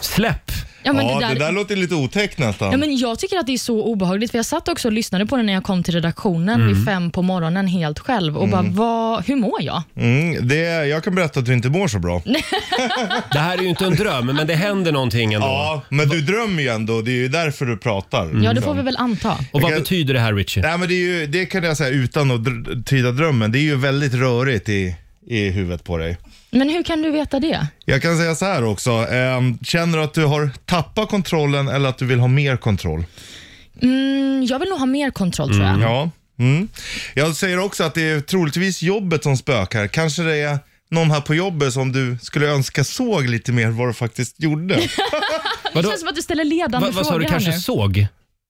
Speaker 1: Släpp!
Speaker 2: Ja, men det där-
Speaker 13: låter lite otäckt nästan.
Speaker 2: Ja, men jag tycker att det är så obehagligt, för jag satt också och lyssnade på den när jag kom till redaktionen
Speaker 13: Mm.
Speaker 2: vid fem på morgonen helt själv och
Speaker 13: Mm.
Speaker 2: bara, vad, hur mår jag?
Speaker 13: Mm, det, jag kan berätta att du inte mår så bra.
Speaker 1: det här är ju inte en dröm, men det händer någonting ändå.
Speaker 13: Ja, men du drömmer ju ändå. Det är ju därför du pratar.
Speaker 2: Ja, det
Speaker 13: liksom.
Speaker 2: får vi väl anta.
Speaker 1: Och vad betyder det här Richie?
Speaker 13: Nej, men det, är ju, det kan jag säga utan att dr- tyda drömmen. Det är ju väldigt rörigt i, i huvudet på dig.
Speaker 2: Men hur kan du veta det?
Speaker 13: Jag kan säga så här också. ehm, känner du att du har tappat kontrollen eller att du vill ha mer kontroll?
Speaker 2: Mm, jag vill nog ha mer kontroll tror jag.
Speaker 13: Ja. Mm. Jag säger också att det är troligtvis jobbet som spökar. Kanske det är någon här på jobbet som du skulle önska såg lite mer vad du faktiskt gjorde.
Speaker 2: Det känns som att du ställer ledande
Speaker 13: Va- vad sa
Speaker 2: frågor
Speaker 13: du,
Speaker 2: här
Speaker 13: kanske
Speaker 2: nu.
Speaker 13: så-
Speaker 1: Såg.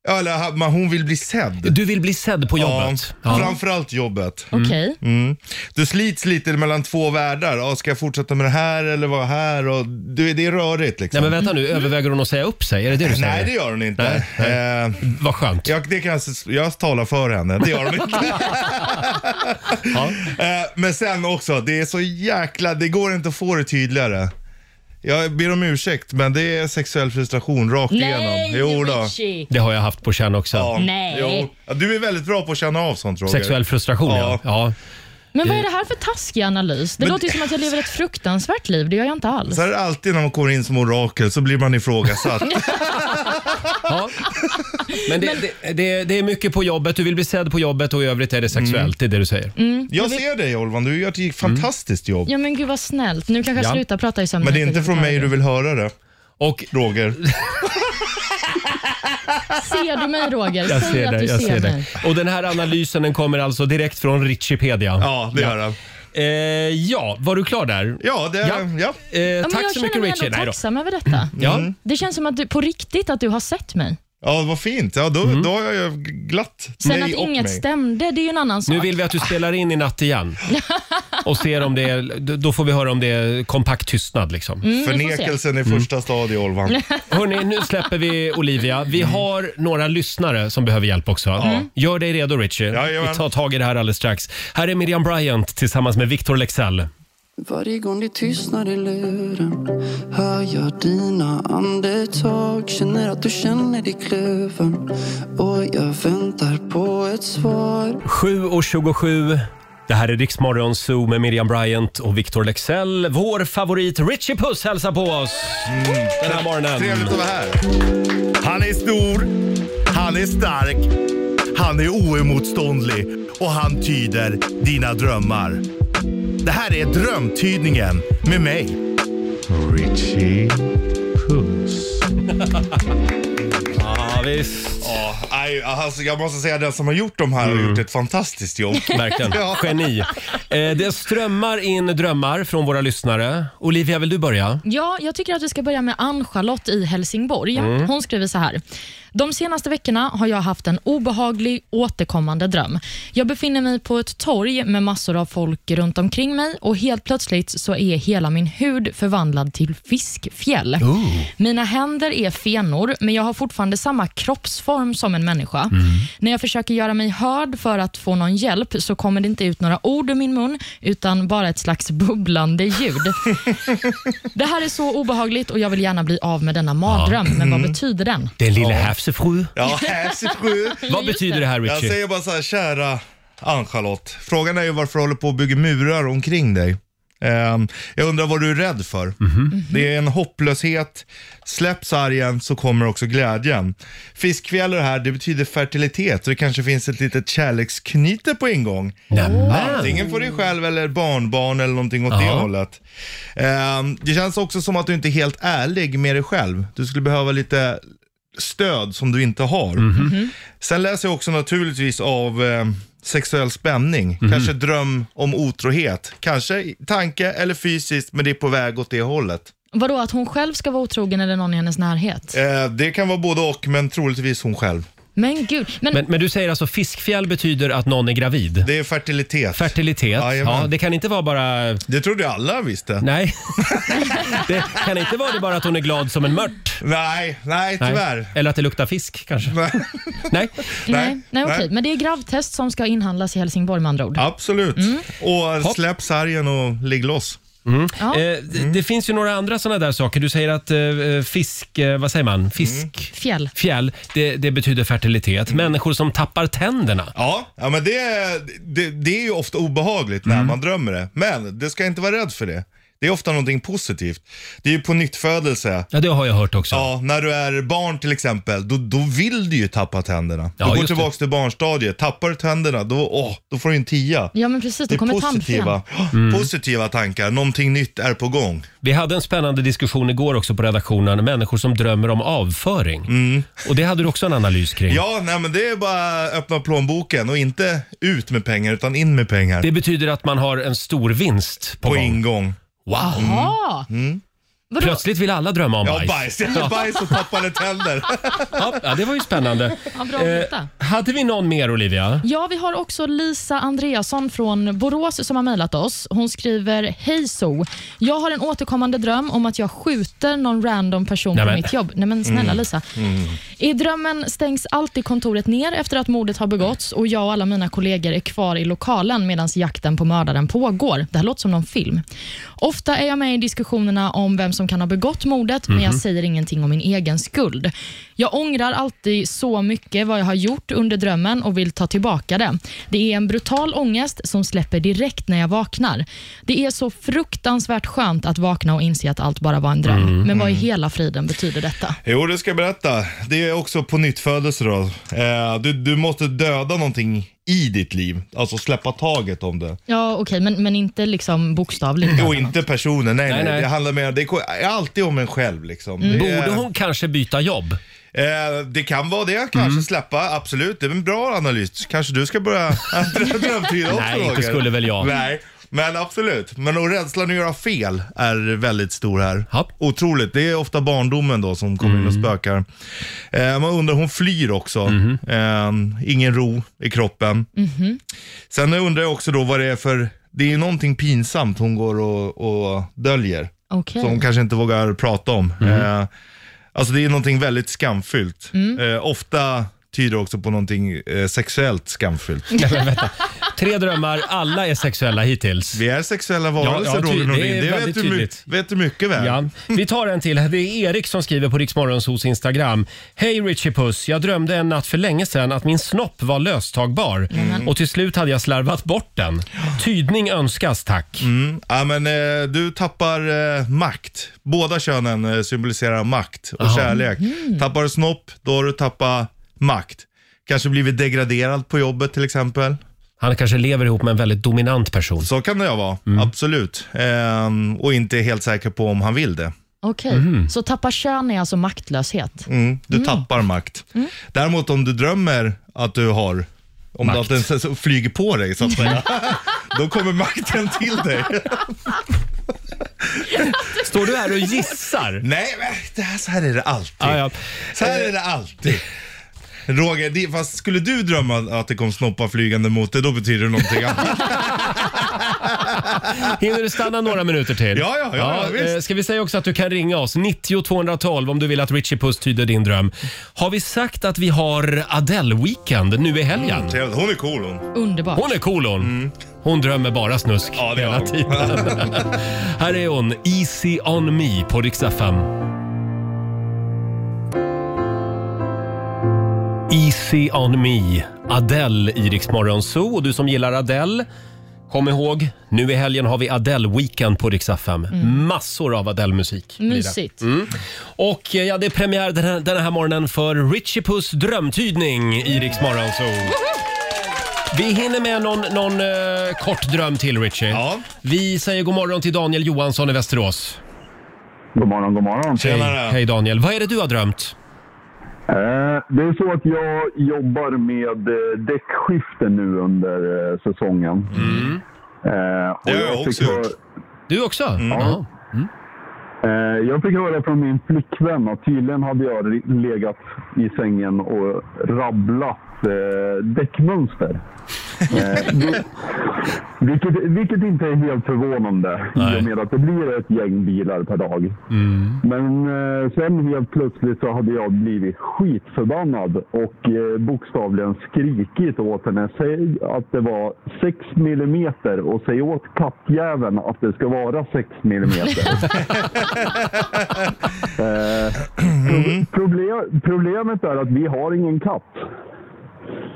Speaker 13: Ja, eller ha- men hon vill bli sedd.
Speaker 1: Du vill bli sedd på jobbet? Ja.
Speaker 13: Ja, framförallt jobbet.
Speaker 2: Okej.
Speaker 13: Mm. Du slits lite mellan två världar. Ja, ska jag fortsätta med det här eller vara här? Och, du, det är rörigt liksom.
Speaker 1: Nej men vänta nu, överväger hon att säga upp sig? Är det det du säger?
Speaker 13: Nej, det gör hon inte.
Speaker 1: Nej,
Speaker 13: Eh,
Speaker 1: Vad skönt.
Speaker 13: Jag, det kan jag, s- jag talar för henne, det gör hon inte. Eh, Men sen också, det är så jäkla, det går inte att få det tydligare. Jag ber om ursäkt, men det är sexuell frustration rakt
Speaker 6: Nej,
Speaker 13: igenom. Jo då.
Speaker 6: Richie.
Speaker 1: Det har jag haft på känn också.
Speaker 13: Ja,
Speaker 6: Nej.
Speaker 13: Jo. Ja, Du är väldigt bra på att känna av sånt Roger.
Speaker 1: Sexuell frustration ja. ja.
Speaker 2: Men vad är det här för taskig analys? Det
Speaker 13: Men-
Speaker 2: låter ju som att jag lever ett fruktansvärt liv. Det gör jag inte alls.
Speaker 13: Så här är det alltid när man kommer in som orakel, så blir man ifrågasatt.
Speaker 1: ja. Men, det, Det, det, det är mycket på jobbet, du vill bli sedd på jobbet och i övrigt är det sexuellt, det är det du säger.
Speaker 2: Mm.
Speaker 13: Jag ser dig Olvan, du gör ett fantastiskt jobb.
Speaker 2: Ja men gud vad snällt. Nu kanske jag
Speaker 13: Ja.
Speaker 2: slutar prata i sömnen.
Speaker 13: Men det är
Speaker 2: för
Speaker 13: inte
Speaker 2: att
Speaker 13: från
Speaker 2: ta
Speaker 13: mig
Speaker 2: det.
Speaker 13: du vill höra det.
Speaker 1: Och
Speaker 13: Roger.
Speaker 2: Ser du mig Roger?
Speaker 1: Jag
Speaker 2: Säg
Speaker 1: ser
Speaker 2: att
Speaker 1: det,
Speaker 2: du
Speaker 1: jag
Speaker 2: ser
Speaker 1: ser det.
Speaker 2: mig.
Speaker 1: Och den här analysen den kommer alltså direkt från Richipedia.
Speaker 13: Ja, det gör den.
Speaker 1: Eh, ja, var du klar där?
Speaker 13: Ja, det- ja.
Speaker 1: Eh,
Speaker 2: Ja, men
Speaker 1: tack så mycket
Speaker 2: Jag
Speaker 1: Richie.
Speaker 2: känner mig
Speaker 1: Nej
Speaker 2: ändå
Speaker 1: då.
Speaker 2: tacksam över detta.
Speaker 1: Ja.
Speaker 2: Det känns som att du, på riktigt att du har sett mig.
Speaker 13: Ja, vad fint. Ja, då, då har jag ju glatt
Speaker 2: Sen
Speaker 1: Mig
Speaker 2: att
Speaker 1: och
Speaker 2: inget
Speaker 1: mig.
Speaker 2: stämde, det är ju en annan sak.
Speaker 1: Nu vill vi att du spelar in i natt igen. Och ser om det är, då får vi höra om det är kompakt tystnad liksom.
Speaker 2: Mm, vi får se. Förnekelsen
Speaker 13: i första stadie, Olvan.
Speaker 1: Hörni, nu släpper vi Olivia. Vi har några lyssnare som behöver hjälp också.
Speaker 13: Mm.
Speaker 1: Gör dig redo Richie.
Speaker 13: Jajamän.
Speaker 1: vi tar tag i det här alldeles strax. Här är Miriam Bryant tillsammans med Victor Lexell.
Speaker 15: Varje gång det tystnar i luren hör jag dina andetag Känner att du känner i klöven och jag väntar på ett svar
Speaker 1: 7.27. Det här är Riksmorgon Zoo med Miriam Bryant och Victor Lexell. Vår favorit Richie Puss hälsar på oss den här morgonen.
Speaker 13: Mm. Trevligt att vara här. Han är stor, han är stark, han är oemotståndlig och han tyder dina drömmar. Det här är Drömtydningen med mig. Richie Puss.
Speaker 1: Ja, visst.
Speaker 13: Ja, nej, alltså, jag måste säga den som har gjort de här har gjort ett fantastiskt jobb.
Speaker 1: Verkligen. Geni. Eh, det strömmar in drömmar från våra lyssnare. Olivia, vill du börja?
Speaker 2: Ja, jag tycker att vi ska börja med Ann-Charlotte i Helsingborg.
Speaker 1: Mm.
Speaker 2: Hon skriver så här. De senaste veckorna har jag haft en obehaglig återkommande dröm. Jag befinner mig på ett torg med massor av folk runt omkring mig och helt plötsligt så är hela min hud förvandlad till fiskfjäll. Mina händer är fenor, men jag har fortfarande samma kroppsform som en människa. När jag försöker göra mig hörd för att få någon hjälp så kommer det inte ut några ord ur min mun, utan bara ett slags bubblande ljud. det här är så obehagligt och jag vill gärna bli av med denna mardröm,
Speaker 1: Ja.
Speaker 2: men vad
Speaker 1: Mm.
Speaker 2: betyder den?
Speaker 1: Den lille häfsefru.
Speaker 13: Ja, häfsefru.
Speaker 1: Vad betyder det här
Speaker 13: Jag
Speaker 1: Richie?
Speaker 13: säger bara så här, kära Ann-Charlotte. Frågan är ju varför du håller på och bygger murar omkring dig. Ehm, jag undrar vad du är rädd för.
Speaker 1: Mhm.
Speaker 13: Mm-hmm. Det är en hopplöshet. Släpps sargen så kommer också glädjen. Fiskfjällor här, det betyder fertilitet så det kanske finns ett litet kärleksknyte på ingång. Antingen för dig själv eller barnbarn eller någonting åt det
Speaker 16: Ja.
Speaker 13: hållet. Ehm, det känns också som att du inte är helt ärlig med dig själv. Du skulle behöva lite stöd som du inte har.
Speaker 2: Mhm.
Speaker 13: Sen läser jag också naturligtvis av eh, sexuell spänning. Kanske dröm om otrohet. Kanske i tanke eller fysiskt, men det är på väg åt det hållet.
Speaker 2: Vadå, att hon själv ska vara otrogen eller någon i hennes närhet?
Speaker 13: Eh, det kan vara både och, men troligtvis hon själv.
Speaker 2: Men gud. Men,
Speaker 1: du säger alltså fiskfjäll betyder att någon är gravid?
Speaker 13: Det är fertilitet.
Speaker 1: Fertilitet, ja. Det kan inte vara bara...
Speaker 13: Det trodde jag alla visste.
Speaker 1: Nej. det kan inte vara det bara att hon är glad som en mört?
Speaker 13: Nej, nej tyvärr.
Speaker 1: Eller att det luktar fisk kanske?
Speaker 13: Nej.
Speaker 1: Nej,
Speaker 2: nej, nej, okej. Men det är gravtest som ska inhandlas i Helsingborg med andra ord.
Speaker 13: Absolut. Och släpp sargen och ligg loss.
Speaker 1: Eh,
Speaker 2: Ja.
Speaker 1: d-
Speaker 13: Mm.
Speaker 1: Det finns ju några andra sådana där saker. Du säger att eh, fisk, eh, vad säger man? Fisk...
Speaker 13: Mm.
Speaker 2: Fjäll.
Speaker 1: Fjäll, det, det betyder fertilitet. Människor som tappar tänderna.
Speaker 13: Ja, ja men det, det, det är ju ofta obehagligt när man drömmer det. Men det ska inte vara rädd för det. Det är ofta någonting positivt. Det är ju på nytt födelse.
Speaker 1: Ja, det har jag hört också.
Speaker 13: Ja, när du är barn till exempel, då, då vill du ju tappa tänderna.
Speaker 1: Ja,
Speaker 13: du går
Speaker 1: just
Speaker 13: tillbaka till barnstadiet. Tappar du tänderna, då, åh, då får du en tia.
Speaker 2: Ja, men precis. Då
Speaker 13: Det är
Speaker 2: kommer
Speaker 13: positiva,
Speaker 2: tandfen.
Speaker 13: positiva tankar. Någonting nytt är på gång.
Speaker 1: Vi hade en spännande diskussion igår också på redaktionen. Människor som drömmer om avföring. Och det hade du också en analys kring.
Speaker 13: Mm. Ja, nej men det är bara att öppna plånboken och inte ut med pengar utan in med pengar.
Speaker 1: Det betyder att man har en stor vinst på,
Speaker 13: På
Speaker 1: gång.
Speaker 13: ingång.
Speaker 1: Wow.
Speaker 2: Jaha! Vadå?
Speaker 1: Plötsligt vill alla drömma om
Speaker 13: Ja,
Speaker 1: bajs.
Speaker 13: bajs. Ja. bajs och tappade tänder.
Speaker 1: ja, ja, det var ju spännande.
Speaker 2: Ja, bra att
Speaker 1: Eh.
Speaker 2: veta.
Speaker 1: hade vi någon mer, Olivia?
Speaker 2: Ja, vi har också Lisa Andreasson från Borås som har mejlat oss. Hon skriver, hej So. Jag har en återkommande dröm om att jag skjuter någon random person på
Speaker 6: Nämen.
Speaker 2: mitt jobb. Nej men snälla
Speaker 6: Mm.
Speaker 2: Lisa. I drömmen stängs alltid kontoret ner efter att mordet har begåtts och jag och alla mina kollegor är kvar i lokalen medan jakten på mördaren pågår. Det här låter som någon film. Ofta är jag med i diskussionerna om vem som kan ha begått mordet, men jag
Speaker 6: Mhm.
Speaker 2: säger ingenting om min egen skuld. Jag ångrar alltid så mycket vad jag har gjort under drömmen och vill ta tillbaka det. Det är en brutal ångest som släpper direkt när jag vaknar. Det är så fruktansvärt skönt att vakna och inse att allt bara var en dröm.
Speaker 13: Mm.
Speaker 2: Men vad i
Speaker 13: Mm.
Speaker 2: hela friden betyder detta?
Speaker 13: Jo, det ska jag berätta. Det är också på nytt födelse då. Eh, du, du måste döda någonting i ditt liv. Alltså släppa taget om det.
Speaker 2: Ja, okej, men, men inte liksom bokstavligt.
Speaker 13: Och inte personen. Nej, nej.
Speaker 1: Mm. Nej, nej.
Speaker 13: Det handlar mer, det är alltid om en själv liksom.
Speaker 1: Mm.
Speaker 13: Det är-
Speaker 1: Borde hon kanske byta jobb?
Speaker 13: Eh, det kan vara det kanske.
Speaker 1: Mm.
Speaker 13: Släppa, absolut. Det är en bra analys. Kanske du ska börja drö- drömtyda också
Speaker 1: Nej, inte
Speaker 13: Roger.
Speaker 1: skulle väl jag.
Speaker 13: Nej, men absolut. Men och rädslan att göra fel är väldigt stor här. Otroligt. Det är ofta barndomen då som kommer in
Speaker 1: Mm.
Speaker 13: och spökar. Eh, man undrar, hon flyr också.
Speaker 1: Mhm.
Speaker 13: Eh, ingen ro i kroppen.
Speaker 6: Mhm.
Speaker 13: Sen undrar jag också då vad det är för, det är ju någonting pinsamt hon går och, och döljer.
Speaker 2: Okej.
Speaker 13: Som hon kanske inte vågar prata om.
Speaker 1: Mhm.
Speaker 13: Eh, alltså det är någonting väldigt skamfyllt. Eh, ofta tyder det också på någonting eh, sexuellt skamfyllt.
Speaker 1: Nej, men vänta. Tre drömmar, alla är sexuella hittills.
Speaker 13: Vi är sexuella varelser,
Speaker 1: ty-
Speaker 13: Roger Nordin.
Speaker 1: Det är
Speaker 13: Det vet
Speaker 1: väldigt
Speaker 13: du my-
Speaker 1: tydligt.
Speaker 13: vet du mycket väl.
Speaker 1: Ja. Vi tar en till. Det är Erik som skriver på Riksmorgonsos Instagram. Hej Richie Puss! Jag drömde en natt för länge sedan att min snopp var löstagbar och till slut hade jag slarvat bort den. Tydning önskas, tack.
Speaker 13: Mm. Ja, men, eh, du tappar eh, makt. Båda könen eh, symboliserar makt och
Speaker 1: Aha.
Speaker 13: kärlek.
Speaker 1: Mhm.
Speaker 13: Tappar du snopp, då har du tappat makt. Kanske blivit degraderad på jobbet till exempel.
Speaker 1: Han kanske lever ihop med en väldigt dominant person.
Speaker 13: Så kan det jag vara, absolut. Ehm, och inte är helt säker på om han vill det.
Speaker 2: Okej,
Speaker 13: Mhm.
Speaker 2: så tappa kön är alltså maktlöshet?
Speaker 13: Mm, du tappar makt. Däremot om du drömmer att du har, om du att den så- så flyger på dig så att säga, då kommer makten till dig.
Speaker 1: Står du här och gissar?
Speaker 13: Nej, men det här, så här är det alltid.
Speaker 1: Ja, ja.
Speaker 13: Så här är det alltid. Roger, det, fast skulle du drömma att det kom snoppar flygande mot dig, då betyder det någonting annat.
Speaker 1: Hinner du stanna några minuter till?
Speaker 13: Ja, ja, ja, ja, visst.
Speaker 1: eh, Ska vi säga också att du kan ringa oss, 90 212 om du vill att Richie Puss tyder din dröm. Har vi sagt att vi har Adele-weekend nu i helgen?
Speaker 13: Mm, trevligt. hon är cool hon.
Speaker 2: Underbart.
Speaker 1: Hon är cool hon. Hon drömmer bara snusk hela tiden. Här är hon, Easy on me på riksdag Easy on me, Adele i Rix Morgon Zoo. Och du som gillar Adele, Kom ihåg, nu i helgen har vi Adele-weekend på Rix FM.
Speaker 2: Mm.
Speaker 1: Massor av Adele-musik. blir det.
Speaker 2: Mysigt.
Speaker 1: Mm. Och eh, ja, det är premiär den här, den här morgonen för Richie Puss drömtydning i Rix Morgon Zoo. Vi hinner med någon, någon eh, kort dröm till, Richie. Vi säger god morgon till Daniel Johansson i Västerås.
Speaker 16: God morgon, god morgon.
Speaker 1: Hej, hej Daniel. Vad är det du har drömt?
Speaker 16: Eh, Det är så att jag jobbar med eh, däckskiften nu under eh, säsongen. Eh, och
Speaker 6: Det har jag också
Speaker 16: fick
Speaker 6: gjort.
Speaker 1: Du också?
Speaker 13: Mm.
Speaker 16: Ja. Eh, Jag fick höra från min flickvän att tydligen hade jag ri- legat i sängen och rabblat eh, däckmönster. Eh, vil- vilket, vilket inte är helt förvånande i och med att det blir ett gäng bilar per dag. Men eh, sen helt plötsligt så hade jag blivit skitförbannad och eh, bokstavligen skrikit åt henne. Säg att det var 6 millimeter och säg åt kattjäveln att det ska vara 6 millimeter. eh, pro- proble- problemet är att vi har ingen katt.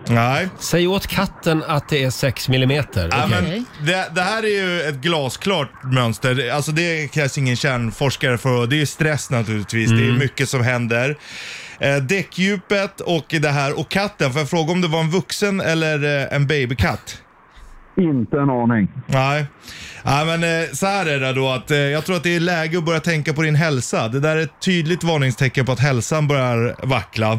Speaker 1: Nej. Säg åt katten att det är 6 millimeter.
Speaker 13: Ja,
Speaker 1: Okej.
Speaker 13: men det, det här är ju ett glasklart mönster. Alltså det krävs ingen kärnforskare för. Det är ju stress naturligtvis. Det är
Speaker 1: Mm.
Speaker 13: mycket som händer. Eh, däckdjupet och det här och katten. Får jag fråga om det var en vuxen eller eh, en babykatt?
Speaker 16: Inte en aning.
Speaker 13: Nej. Nej, men eh, så här är det då att eh, jag tror att det är läge att börja tänka på din hälsa. Det där är ett tydligt varningstecken på att hälsan börjar vackla.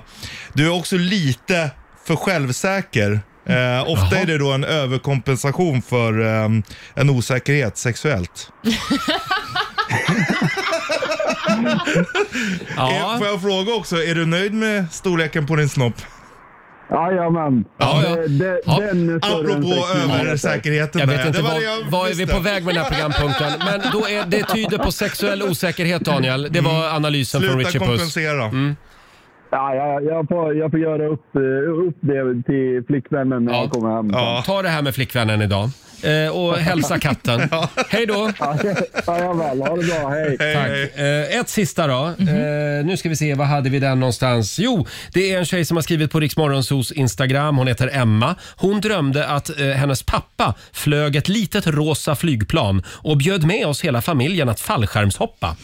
Speaker 13: Du är också lite för självsäker. Eh, ofta är det då en överkompensation för ehm, en osäkerhet sexuellt. Eh, Får jag fråga också, är du nöjd med storleken på din snopp?
Speaker 16: Jajamän.
Speaker 13: Ja,
Speaker 16: Det- Eh, det- Den är större än
Speaker 13: Apropå
Speaker 16: 6 millimeter.
Speaker 13: översäkerheten
Speaker 1: Jag
Speaker 13: där.
Speaker 1: vet inte,
Speaker 13: det var
Speaker 1: vad,
Speaker 13: det jag
Speaker 1: vad är vi
Speaker 13: visste.
Speaker 1: på väg med den här programpunkten? Men då är, det tyder på sexuell osäkerhet, Daniel. Det var
Speaker 13: Mm.
Speaker 1: analysen från Richie Puss. Mm.
Speaker 16: Ja, jag, jag, får, jag får göra upp, eh, upp det till flickvännen när jag kommer hem.
Speaker 1: Ta det här med flickvännen idag. Eh, och hälsa katten. Hej då!
Speaker 16: Jajamän, ha det bra. Hej.
Speaker 1: Tack. Eh, ett sista då. Eh, nu ska vi se, vad hade vi den någonstans? Jo, det är en tjej som har skrivit på Riksmorgonsos Instagram. Hon heter Emma. Hon drömde att eh, hennes pappa flög ett litet rosa flygplan och bjöd med oss hela familjen att fallskärmshoppa.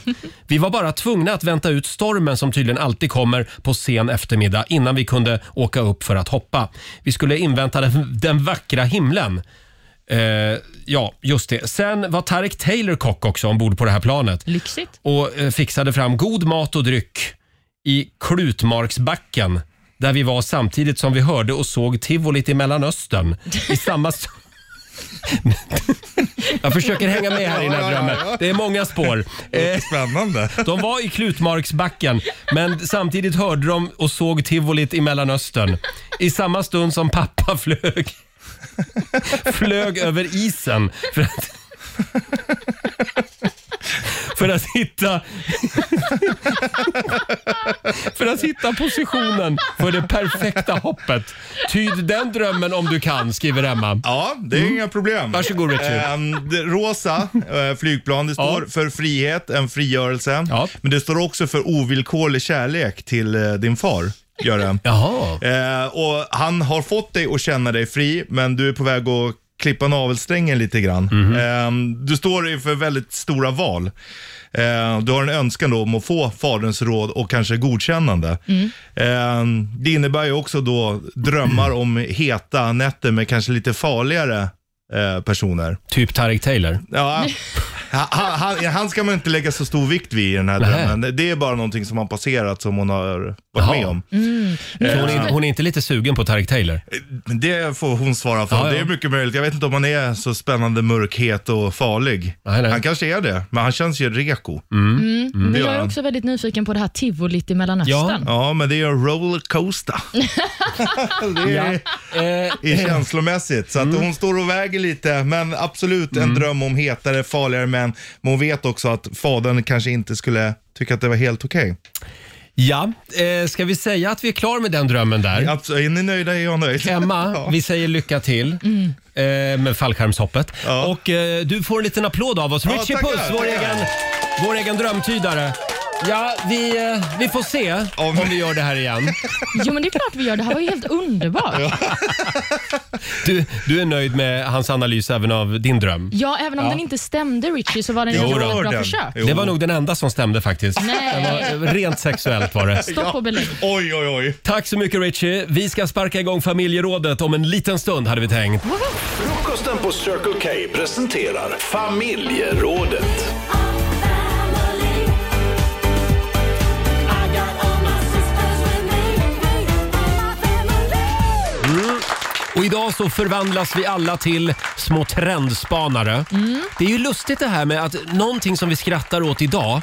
Speaker 1: Vi var bara tvungna att vänta ut stormen som tydligen alltid kommer på sen eftermiddag innan vi kunde åka upp för att hoppa. Vi skulle invänta den, den vackra himlen. Eh, ja, just det. Sen var Tarek Taylor kock också ombord på det här planet.
Speaker 2: Lyxigt.
Speaker 1: Och eh, fixade fram god mat och dryck i Klutmarksbacken där vi var samtidigt som vi hörde och såg tivolit i Mellanöstern. I samma... st- Jag försöker hänga med här i den här
Speaker 13: Ja, ja, ja,
Speaker 1: drömmen.
Speaker 13: ja.
Speaker 1: Det är många spår. Eh,
Speaker 13: Spännande.
Speaker 1: De var i Klutmarksbacken, men samtidigt hörde de och såg tivolit i Mellanöstern. I samma stund som pappa flög flög över isen för att för att hitta för att hitta positionen för det perfekta hoppet. Tyd den drömmen om du kan, skriver Emma.
Speaker 13: Ja, det är inga problem.
Speaker 1: Mm. Varsågod Richard.
Speaker 13: Ehm, det- rosa eh, flygplan, det står för frihet, en frigörelse. Men det står också för ovillkorlig kärlek till eh, din far. Gör det. Eh, och han har fått dig att känna dig fri, men du är på väg att klippa navelsträngen lite grann.
Speaker 1: Mhm.
Speaker 13: Ehm, du står inför väldigt stora val. Eh, du har en önskan då om att få faderns råd och kanske godkännande. Ehm, Det innebär ju också då drömmar om heta nätter med kanske lite farligare eh, personer.
Speaker 1: Typ Tarek Taylor.
Speaker 13: Ja, han, han, han ska man inte lägga så stor vikt vid i den här
Speaker 1: Nej.
Speaker 13: drömmen. Det är bara någonting som har passerat som hon har varit
Speaker 1: Jaha.
Speaker 13: med om.
Speaker 1: Så hon, är, hon är inte lite sugen på Tarek Taylor?
Speaker 13: Men Eh, Det får hon svara för.
Speaker 1: Ja, ja.
Speaker 13: Det är mycket möjligt. Jag vet inte om han är så spännande mörkhet och farlig. Han kanske är det, men han känns ju reko.
Speaker 2: Mm. Men
Speaker 13: Det gör
Speaker 2: jag är
Speaker 13: han.
Speaker 2: också väldigt nyfiken på det här tivolit i Mellanöstern.
Speaker 13: ja, men det är en rollercoaster. Det är- är
Speaker 1: Eh,
Speaker 13: känslomässigt. Så att
Speaker 1: Mm.
Speaker 13: hon står och väger lite, men absolut en dröm om hetare, farligare män. Men hon vet också att fadern kanske inte skulle tycka att det var helt okej.
Speaker 1: Ja, eh, ska vi säga att vi är klar med den drömmen där?
Speaker 13: Absolut. Alltså, Är ni nöjda är jag nöjd.
Speaker 1: Mm. Emma, vi säger lycka till
Speaker 2: Mm.
Speaker 1: eh, med fallskärmshoppet. Och eh, du får en liten applåd av oss.
Speaker 6: Ja,
Speaker 1: Richie
Speaker 6: tackar,
Speaker 1: Puss, vår
Speaker 6: tackar.
Speaker 1: egen, vår egen drömtydare. Ja, vi, eh, vi får se om, vi gör det här igen.
Speaker 2: Jo, men det är klart vi gör. Det här var ju helt underbart.
Speaker 1: Du, du är nöjd med hans analys även av din dröm?
Speaker 2: Ja, även om den inte stämde Richie så var den ett
Speaker 1: Jo då.
Speaker 2: bra försök.
Speaker 1: Det var nog den enda som stämde faktiskt.
Speaker 2: Nej.
Speaker 1: Det var eh, rent sexuellt var det.
Speaker 2: Stopp och belägg.
Speaker 1: Oj, oj, oj. Tack så mycket Richie. Vi ska sparka igång familjerådet om en liten stund hade vi tänkt.
Speaker 17: Frukosten på Circle K presenterar familjerådet.
Speaker 1: Mm. Och idag så förvandlas vi alla till små trendspanare.
Speaker 2: Mm.
Speaker 1: Det är ju lustigt det här med att någonting som vi skrattar åt idag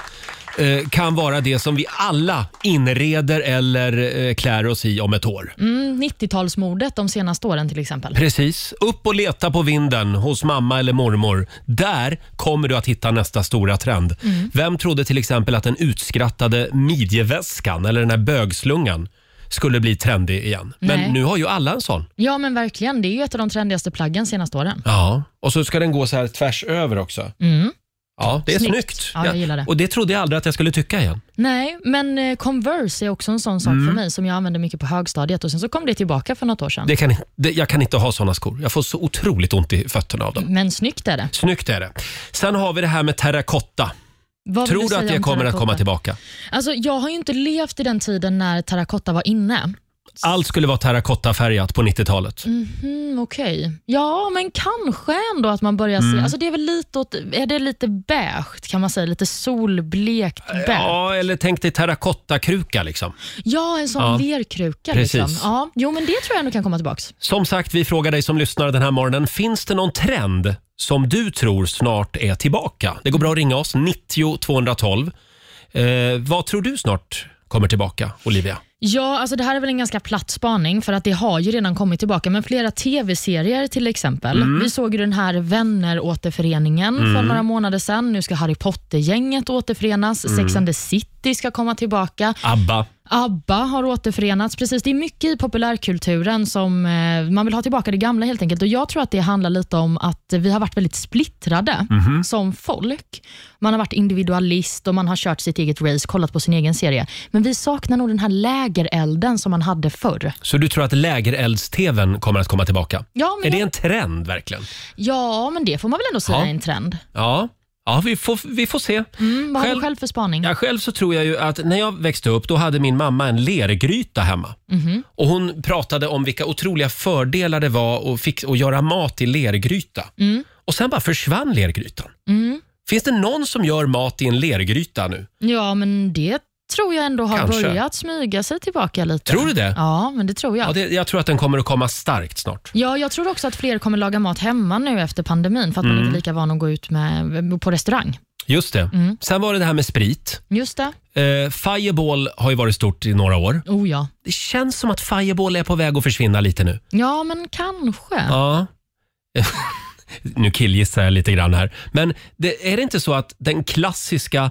Speaker 1: eh, kan vara det som vi alla inreder eller eh, klär oss i om ett år.
Speaker 2: Mm, 90-talsmordet de senaste åren till exempel.
Speaker 1: Precis. Upp och leta på vinden hos mamma eller mormor. Där kommer du att hitta nästa stora trend.
Speaker 2: Mm.
Speaker 1: Vem trodde till exempel att den utskrattade midjeväskan eller den här bögslungan skulle bli trendig igen?
Speaker 2: Nej.
Speaker 1: Men nu har ju alla en sån.
Speaker 2: Ja, men verkligen. Det är ju ett av de trendigaste plaggen senaste åren.
Speaker 1: Ja, och så ska den gå så här tvärs över också.
Speaker 2: Mm.
Speaker 1: Ja, det är snyggt.
Speaker 2: Snyggt. Ja, jag gillar det.
Speaker 1: Och det trodde jag aldrig att jag skulle tycka igen.
Speaker 2: Nej, men eh, Converse är också en sån sak
Speaker 1: Mm.
Speaker 2: för mig som jag använde mycket på högstadiet och sen så kom det tillbaka för något år sedan.
Speaker 1: Det kan, i- det, jag kan inte ha såna skor. Jag får så otroligt ont i fötterna av dem.
Speaker 2: Men snyggt är det.
Speaker 1: Snyggt är det. Sen har vi det här med terrakotta.
Speaker 2: Vad vill
Speaker 1: Tror
Speaker 2: du
Speaker 1: du att
Speaker 2: säga
Speaker 1: det
Speaker 2: om
Speaker 1: kommer att
Speaker 2: terrakotta?
Speaker 1: komma tillbaka?
Speaker 2: Alltså, jag har ju inte levt i den tiden när terrakotta var inne.
Speaker 1: Allt skulle vara terrakottafärgat på 90-talet.
Speaker 2: Mhm, Okej. Ja, men kanske ändå att man börjar se...
Speaker 1: Mm.
Speaker 2: Alltså det är väl lite åt, Är det lite beige, kan man säga? Lite solblekt beige? Ja,
Speaker 1: Ja, eller tänk dig terrakottakruka liksom.
Speaker 2: en sån
Speaker 1: Ja.
Speaker 2: lerkruka.
Speaker 1: Precis.
Speaker 2: Liksom. Ja. Jo, men det tror jag ändå kan komma tillbaka.
Speaker 1: Som sagt, vi frågar dig som lyssnar den här morgonen. Finns det någon trend som du tror snart är tillbaka? Det går bra att ringa oss, 90 212. Eh, vad tror du snart kommer tillbaka, Olivia?
Speaker 2: Ja, alltså det här är väl en ganska platt spaning för att det har ju redan kommit tillbaka, men flera tv-serier till exempel.
Speaker 6: Mm.
Speaker 2: Vi såg ju den här Vänner-återföreningen för
Speaker 6: Mm.
Speaker 2: några månader sedan. Nu ska Harry Potter-gänget återförenas.
Speaker 6: Mm.
Speaker 2: Sex and the City ska komma tillbaka.
Speaker 1: ABBA.
Speaker 2: ABBA har återförenats. Precis, det är mycket i populärkulturen som eh, man vill ha tillbaka det gamla helt enkelt. Och Jag tror att det handlar lite om att vi har varit väldigt splittrade
Speaker 6: Mhm.
Speaker 2: som folk. Man har varit individualist och man har kört sitt eget race, kollat på sin egen serie. Men vi saknar nog den här lägerelden som man hade förr.
Speaker 1: Så du tror att lägerelds-tvn kommer att komma tillbaka?
Speaker 2: Ja, men
Speaker 1: är det
Speaker 2: jag-
Speaker 1: en trend verkligen?
Speaker 2: Ja, men det får man väl ändå säga
Speaker 1: Ja.
Speaker 2: är en trend.
Speaker 1: Ja, ja vi, får, vi får se.
Speaker 2: Mm, vad har
Speaker 1: Själv-
Speaker 2: du själv för spaning?
Speaker 1: Ja, själv så tror jag ju att när jag växte upp då hade min mamma en lergryta hemma.
Speaker 2: Mhm.
Speaker 1: Och Hon pratade om vilka otroliga fördelar det var att, fix, att göra mat i lergryta.
Speaker 2: Mm.
Speaker 1: Och sen bara försvann lergrytan.
Speaker 2: Mm.
Speaker 1: Finns det någon som gör mat i en lergryta nu?
Speaker 2: Ja, men det tror jag ändå har
Speaker 1: Kanske.
Speaker 2: börjat smyga sig tillbaka lite.
Speaker 1: Tror du det?
Speaker 2: Ja, men det tror jag.
Speaker 1: Ja, det, jag tror att den kommer att komma starkt snart.
Speaker 2: Ja, jag tror också att fler kommer laga mat hemma nu efter pandemin för att man
Speaker 1: Mm.
Speaker 2: inte är lika van att gå ut med, på restaurang.
Speaker 1: Just det.
Speaker 2: Mm.
Speaker 1: Sen var det det här med sprit.
Speaker 2: Just det.
Speaker 1: Eh, Fireball har ju varit stort i några år.
Speaker 2: Oh ja.
Speaker 1: Det känns som att Fireball är på väg att försvinna lite nu.
Speaker 2: Ja, men kanske.
Speaker 1: Ja. nu killgissar jag lite grann här. Men det, är det inte så att den klassiska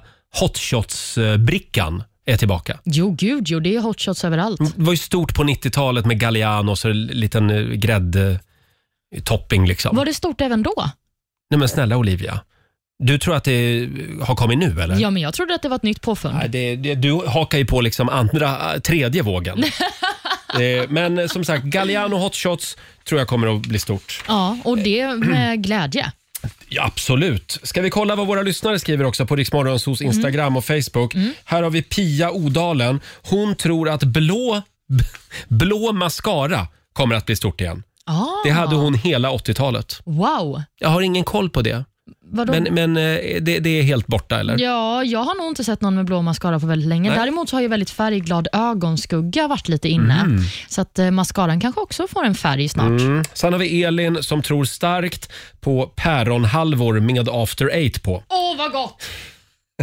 Speaker 1: hotshots-brickan är tillbaka?
Speaker 2: Jo, gud jo. Det är hot shots överallt.
Speaker 1: Det var ju stort på 90-talet med Galliano och så en liten eh, gräddtopping liksom.
Speaker 2: Var det stort även då?
Speaker 1: Nej men snälla Olivia. Du tror att det har kommit nu eller?
Speaker 2: Ja, men jag trodde att det var ett nytt påfund.
Speaker 1: Nej, det, det, du hakar ju på liksom andra, tredje vågen. eh, men eh, som sagt, Galliano hot shots tror jag kommer att bli stort.
Speaker 2: Ja, och det med glädje.
Speaker 1: Ja, absolut. Ska vi kolla vad våra lyssnare skriver också på Riksmorgonsos
Speaker 2: Mhm.
Speaker 1: Instagram och Facebook.
Speaker 2: Mm.
Speaker 1: Här har vi Pia Odalen. Hon tror att blå, b- blå mascara kommer att bli stort igen.
Speaker 2: Ah,
Speaker 1: Det hade hon hela 80-talet.
Speaker 2: Wow.
Speaker 1: Jag har ingen koll på det.
Speaker 2: Vadå?
Speaker 1: Men, men eh, det, det är helt borta eller?
Speaker 2: Mm. Ja, jag har nog inte sett någon med blå mascara på väldigt länge.
Speaker 1: Nej.
Speaker 2: Däremot så har ju väldigt färgglad ögonskugga varit lite inne.
Speaker 1: Mm.
Speaker 2: Så att eh, mascaran kanske också får en färg snart.
Speaker 1: Mm. Sen har vi Elin som tror starkt på päronhalvor med after eight på.
Speaker 2: Åh, vad gott!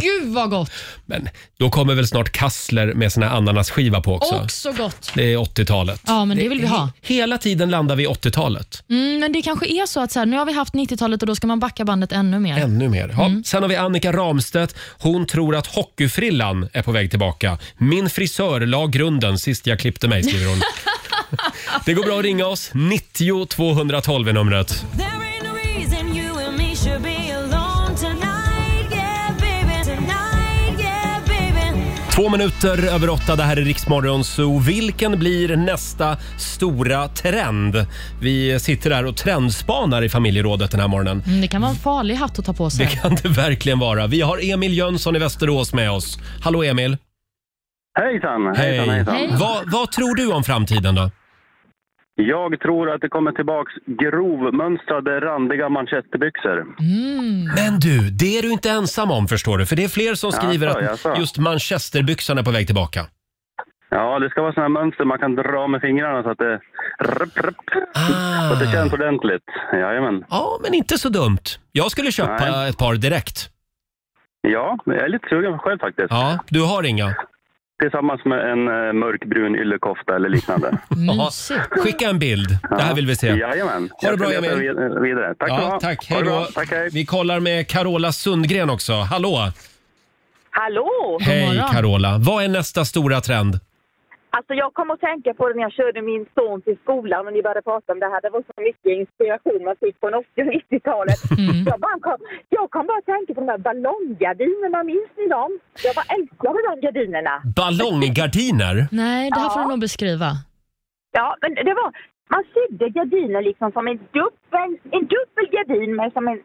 Speaker 2: Gud vad gott!
Speaker 1: Men då kommer väl snart kassler med sån här ananasskiva på också.
Speaker 2: Också gott.
Speaker 1: Det är 80-talet.
Speaker 2: Ja, men det vill vi ha.
Speaker 1: Hela tiden landar vi i 80-talet.
Speaker 2: Mm, men det kanske är så att så här, nu har vi haft 90-talet och då ska man backa bandet ännu mer.
Speaker 1: Ännu mer. Ja. Sen har vi Annika Ramstedt. Hon tror att hockeyfrillan är på väg tillbaka. Min frisör la grunden sist jag klippte mig, skriver hon. Det går bra att ringa oss. 90 212 är numret. Två minuter över åtta, det här är Riksmorgon Zoo. Vilken blir nästa stora trend? Vi sitter där och trendspanar i familjerådet den här morgonen.
Speaker 2: Mm, Det kan vara en farlig hatt att ta på sig.
Speaker 1: Det kan det verkligen vara. Vi har Emil Jönsson i Västerås med oss. Hallå Emil!
Speaker 16: Hejsan, hejsan, hejsan. Hej.
Speaker 1: Vad, vad tror du om framtiden då?
Speaker 16: Jag tror att det kommer tillbaks grovmönstrade, randiga manchesterbyxor.
Speaker 1: Men du, det är du inte ensam om förstår du. För det är fler som skriver
Speaker 16: Jaså,
Speaker 1: att
Speaker 16: jaså.
Speaker 1: just manchesterbyxan är på väg tillbaka.
Speaker 16: Ja, det ska vara sådana här mönster man kan dra med fingrarna så att det, rup, rup, så att det känns ordentligt. Jajamän.
Speaker 1: Ah. Ja, men inte så dumt. Jag skulle köpa ett par direkt.
Speaker 16: Ja, men jag är lite sugen själv faktiskt.
Speaker 1: Ja, du har inga?
Speaker 16: Tillsammans med en eh, mörkbrun yllekofta eller liknande.
Speaker 1: Ja, Skicka en bild. Det här vill vi se.
Speaker 16: Jajamän.
Speaker 1: Ha det
Speaker 16: Jag
Speaker 1: bra
Speaker 16: ska leta
Speaker 1: Emil.
Speaker 16: vid- Vidare. Tack ska du
Speaker 1: ja,
Speaker 16: ha.
Speaker 1: tack.
Speaker 16: Ha
Speaker 1: Hej
Speaker 16: det bra.
Speaker 1: då. Vi kollar med Carola Sundgren också. Hallå!
Speaker 7: Hallå!
Speaker 1: Hej Carola. Vad är nästa stora trend?
Speaker 7: Alltså jag kom att tänka på det när jag körde min son till skolan och ni började prata om det här. Det var så mycket inspiration man fick från 80 och 90-talet. Jag, bara kom, jag kom bara att tänka på de här ballonggardinerna, minns ni dem? Jag bara älskade de gardinerna.
Speaker 1: Ballonggardiner?
Speaker 2: Nej, det här får
Speaker 7: Ja.
Speaker 2: du nog beskriva.
Speaker 7: Ja, men det var, man sydde gardiner liksom som en dubbel, en dubbel gardin med som en,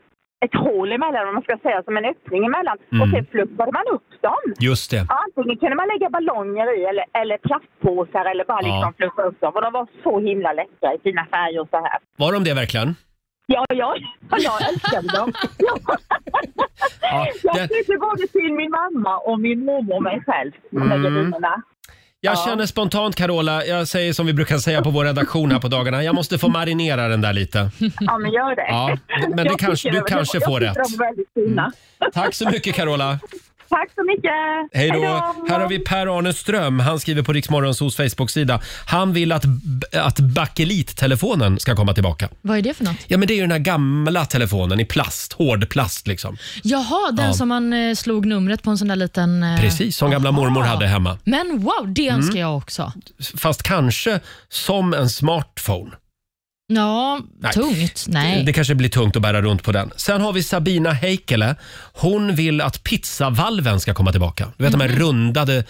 Speaker 7: ett hål emellan, om man ska säga, som en öppning emellan. Och
Speaker 1: Mm.
Speaker 7: sen fluffade man upp dem.
Speaker 1: Just det.
Speaker 7: Ja, antingen kunde man lägga ballonger i eller, eller plastpåsar eller bara
Speaker 1: Ja.
Speaker 7: liksom fluffa upp dem. Och de var så himla läckra i sina färger och så här.
Speaker 1: Var de det verkligen?
Speaker 7: Ja, ja, ja, jag älskade dem. Ja. Jag tyckte både till min mamma och min mormor och mig själv, de här
Speaker 1: Mm.
Speaker 7: gardinerna.
Speaker 1: Jag
Speaker 7: Ja.
Speaker 1: känner spontant Carola, jag säger som vi brukar säga på vår redaktion här på dagarna, jag måste få marinera den där lite.
Speaker 7: Ja, men gör det.
Speaker 1: Ja, men det
Speaker 7: Jag
Speaker 1: kanske-
Speaker 7: tycker
Speaker 1: du
Speaker 7: de-
Speaker 1: kanske
Speaker 7: jag
Speaker 1: får
Speaker 7: tycker
Speaker 1: rätt. Mm.
Speaker 7: De var väldigt fina.
Speaker 1: Tack så mycket Carola!
Speaker 7: Tack så mycket!
Speaker 1: Hej då! Här har vi Per-Arne Ström, han skriver på Riksmorgonsos Facebook-sida. Han vill att, b- att bakelittelefonen ska komma tillbaka.
Speaker 2: Vad är det för något?
Speaker 1: Ja men det är ju den här gamla telefonen i plast, hård plast liksom.
Speaker 2: Jaha, den
Speaker 1: Ja.
Speaker 2: som man eh, slog numret på en sån där liten... eh,
Speaker 1: Precis som gamla mormor hade hemma.
Speaker 2: Men wow, det önskar
Speaker 1: Mm.
Speaker 2: jag också.
Speaker 1: Fast kanske som en smartphone.
Speaker 2: Ja,
Speaker 1: Nej.
Speaker 2: tungt. Nej.
Speaker 1: Det kanske blir tungt att bära runt på den. Sen har vi Sabina Heikkele. Hon vill att pizzavalven ska komma tillbaka. Du vet de
Speaker 2: Mhm.
Speaker 1: här rundade eh,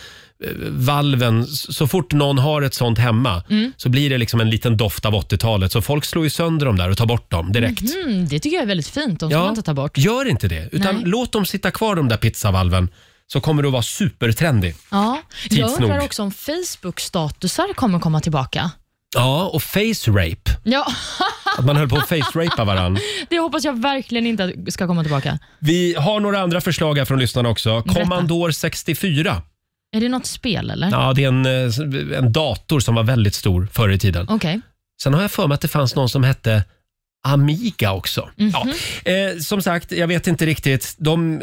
Speaker 1: valven. S- Så fort någon har ett sånt hemma
Speaker 2: Mm.
Speaker 1: så blir det liksom en liten doft av 80-talet. Så folk slår ju sönder dem där och tar bort dem direkt.
Speaker 2: Mhm, det tycker jag är väldigt fint. De ska man inte ta bort.
Speaker 1: Gör inte det, utan
Speaker 2: Nej.
Speaker 1: låt dem sitta kvar de där pizzavalven så kommer det att vara supertrendig.
Speaker 2: Ja. Jag
Speaker 1: Tids nog.
Speaker 2: undrar också om Facebook-statusar kommer komma tillbaka.
Speaker 1: Ja, och face rape.
Speaker 2: Ja,
Speaker 1: Att man höll på att face rapea varann.
Speaker 2: det hoppas jag verkligen inte att- ska komma tillbaka.
Speaker 1: Vi har några andra förslag här från lyssnarna också.
Speaker 2: Berätta.
Speaker 1: Kommandor 64.
Speaker 2: Är det något spel eller?
Speaker 1: Ja, det är en, eh, en dator som var väldigt stor förr i tiden.
Speaker 2: Okej.
Speaker 1: Sen har jag för mig att det fanns någon som hette Amiga också.
Speaker 2: Mhm.
Speaker 1: Ja. Eh, som sagt, jag vet inte riktigt. De,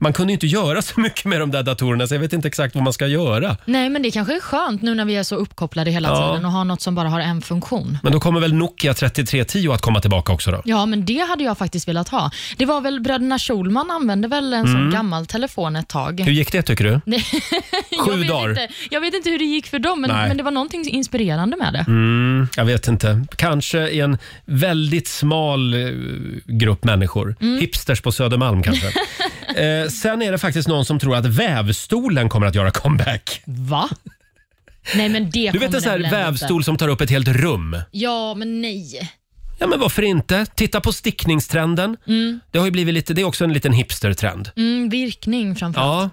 Speaker 1: man kunde ju inte göra så mycket med de där datorerna så jag vet inte exakt vad man ska göra.
Speaker 2: Nej, men det kanske är skönt nu när vi är så uppkopplade hela
Speaker 1: Ja.
Speaker 2: tiden och har något som bara har en funktion.
Speaker 1: Men då kommer väl Nokia 3310 att komma tillbaka också då?
Speaker 2: Ja, men det hade jag faktiskt velat ha. Det var väl bröderna Schulman använde väl en
Speaker 1: Mm.
Speaker 2: sån gammal telefon ett tag.
Speaker 1: Hur gick det tycker du?
Speaker 2: Nej, jag
Speaker 1: Sju
Speaker 2: vet
Speaker 1: dagar.
Speaker 2: Inte, jag vet inte hur det gick för dem, men,
Speaker 1: Nej.
Speaker 2: men det var någonting inspirerande med det.
Speaker 1: Mm, jag vet inte. Kanske i en väldigt smal eh, grupp människor.
Speaker 2: Mm.
Speaker 1: Hipsters på Södermalm kanske. eh, sen är det faktiskt någon som tror att vävstolen kommer att göra comeback.
Speaker 2: Va? Nej, men det
Speaker 1: Du vet
Speaker 2: kommer
Speaker 1: en sån här
Speaker 2: den väl ändå
Speaker 1: vävstol
Speaker 2: inte.
Speaker 1: som tar upp ett helt rum.
Speaker 2: Ja, men nej.
Speaker 1: Ja, men varför inte? Titta på stickningstrenden.
Speaker 2: Mm.
Speaker 1: Det, har ju blivit lite, det är också en liten hipstertrend.
Speaker 2: Mm, virkning framförallt.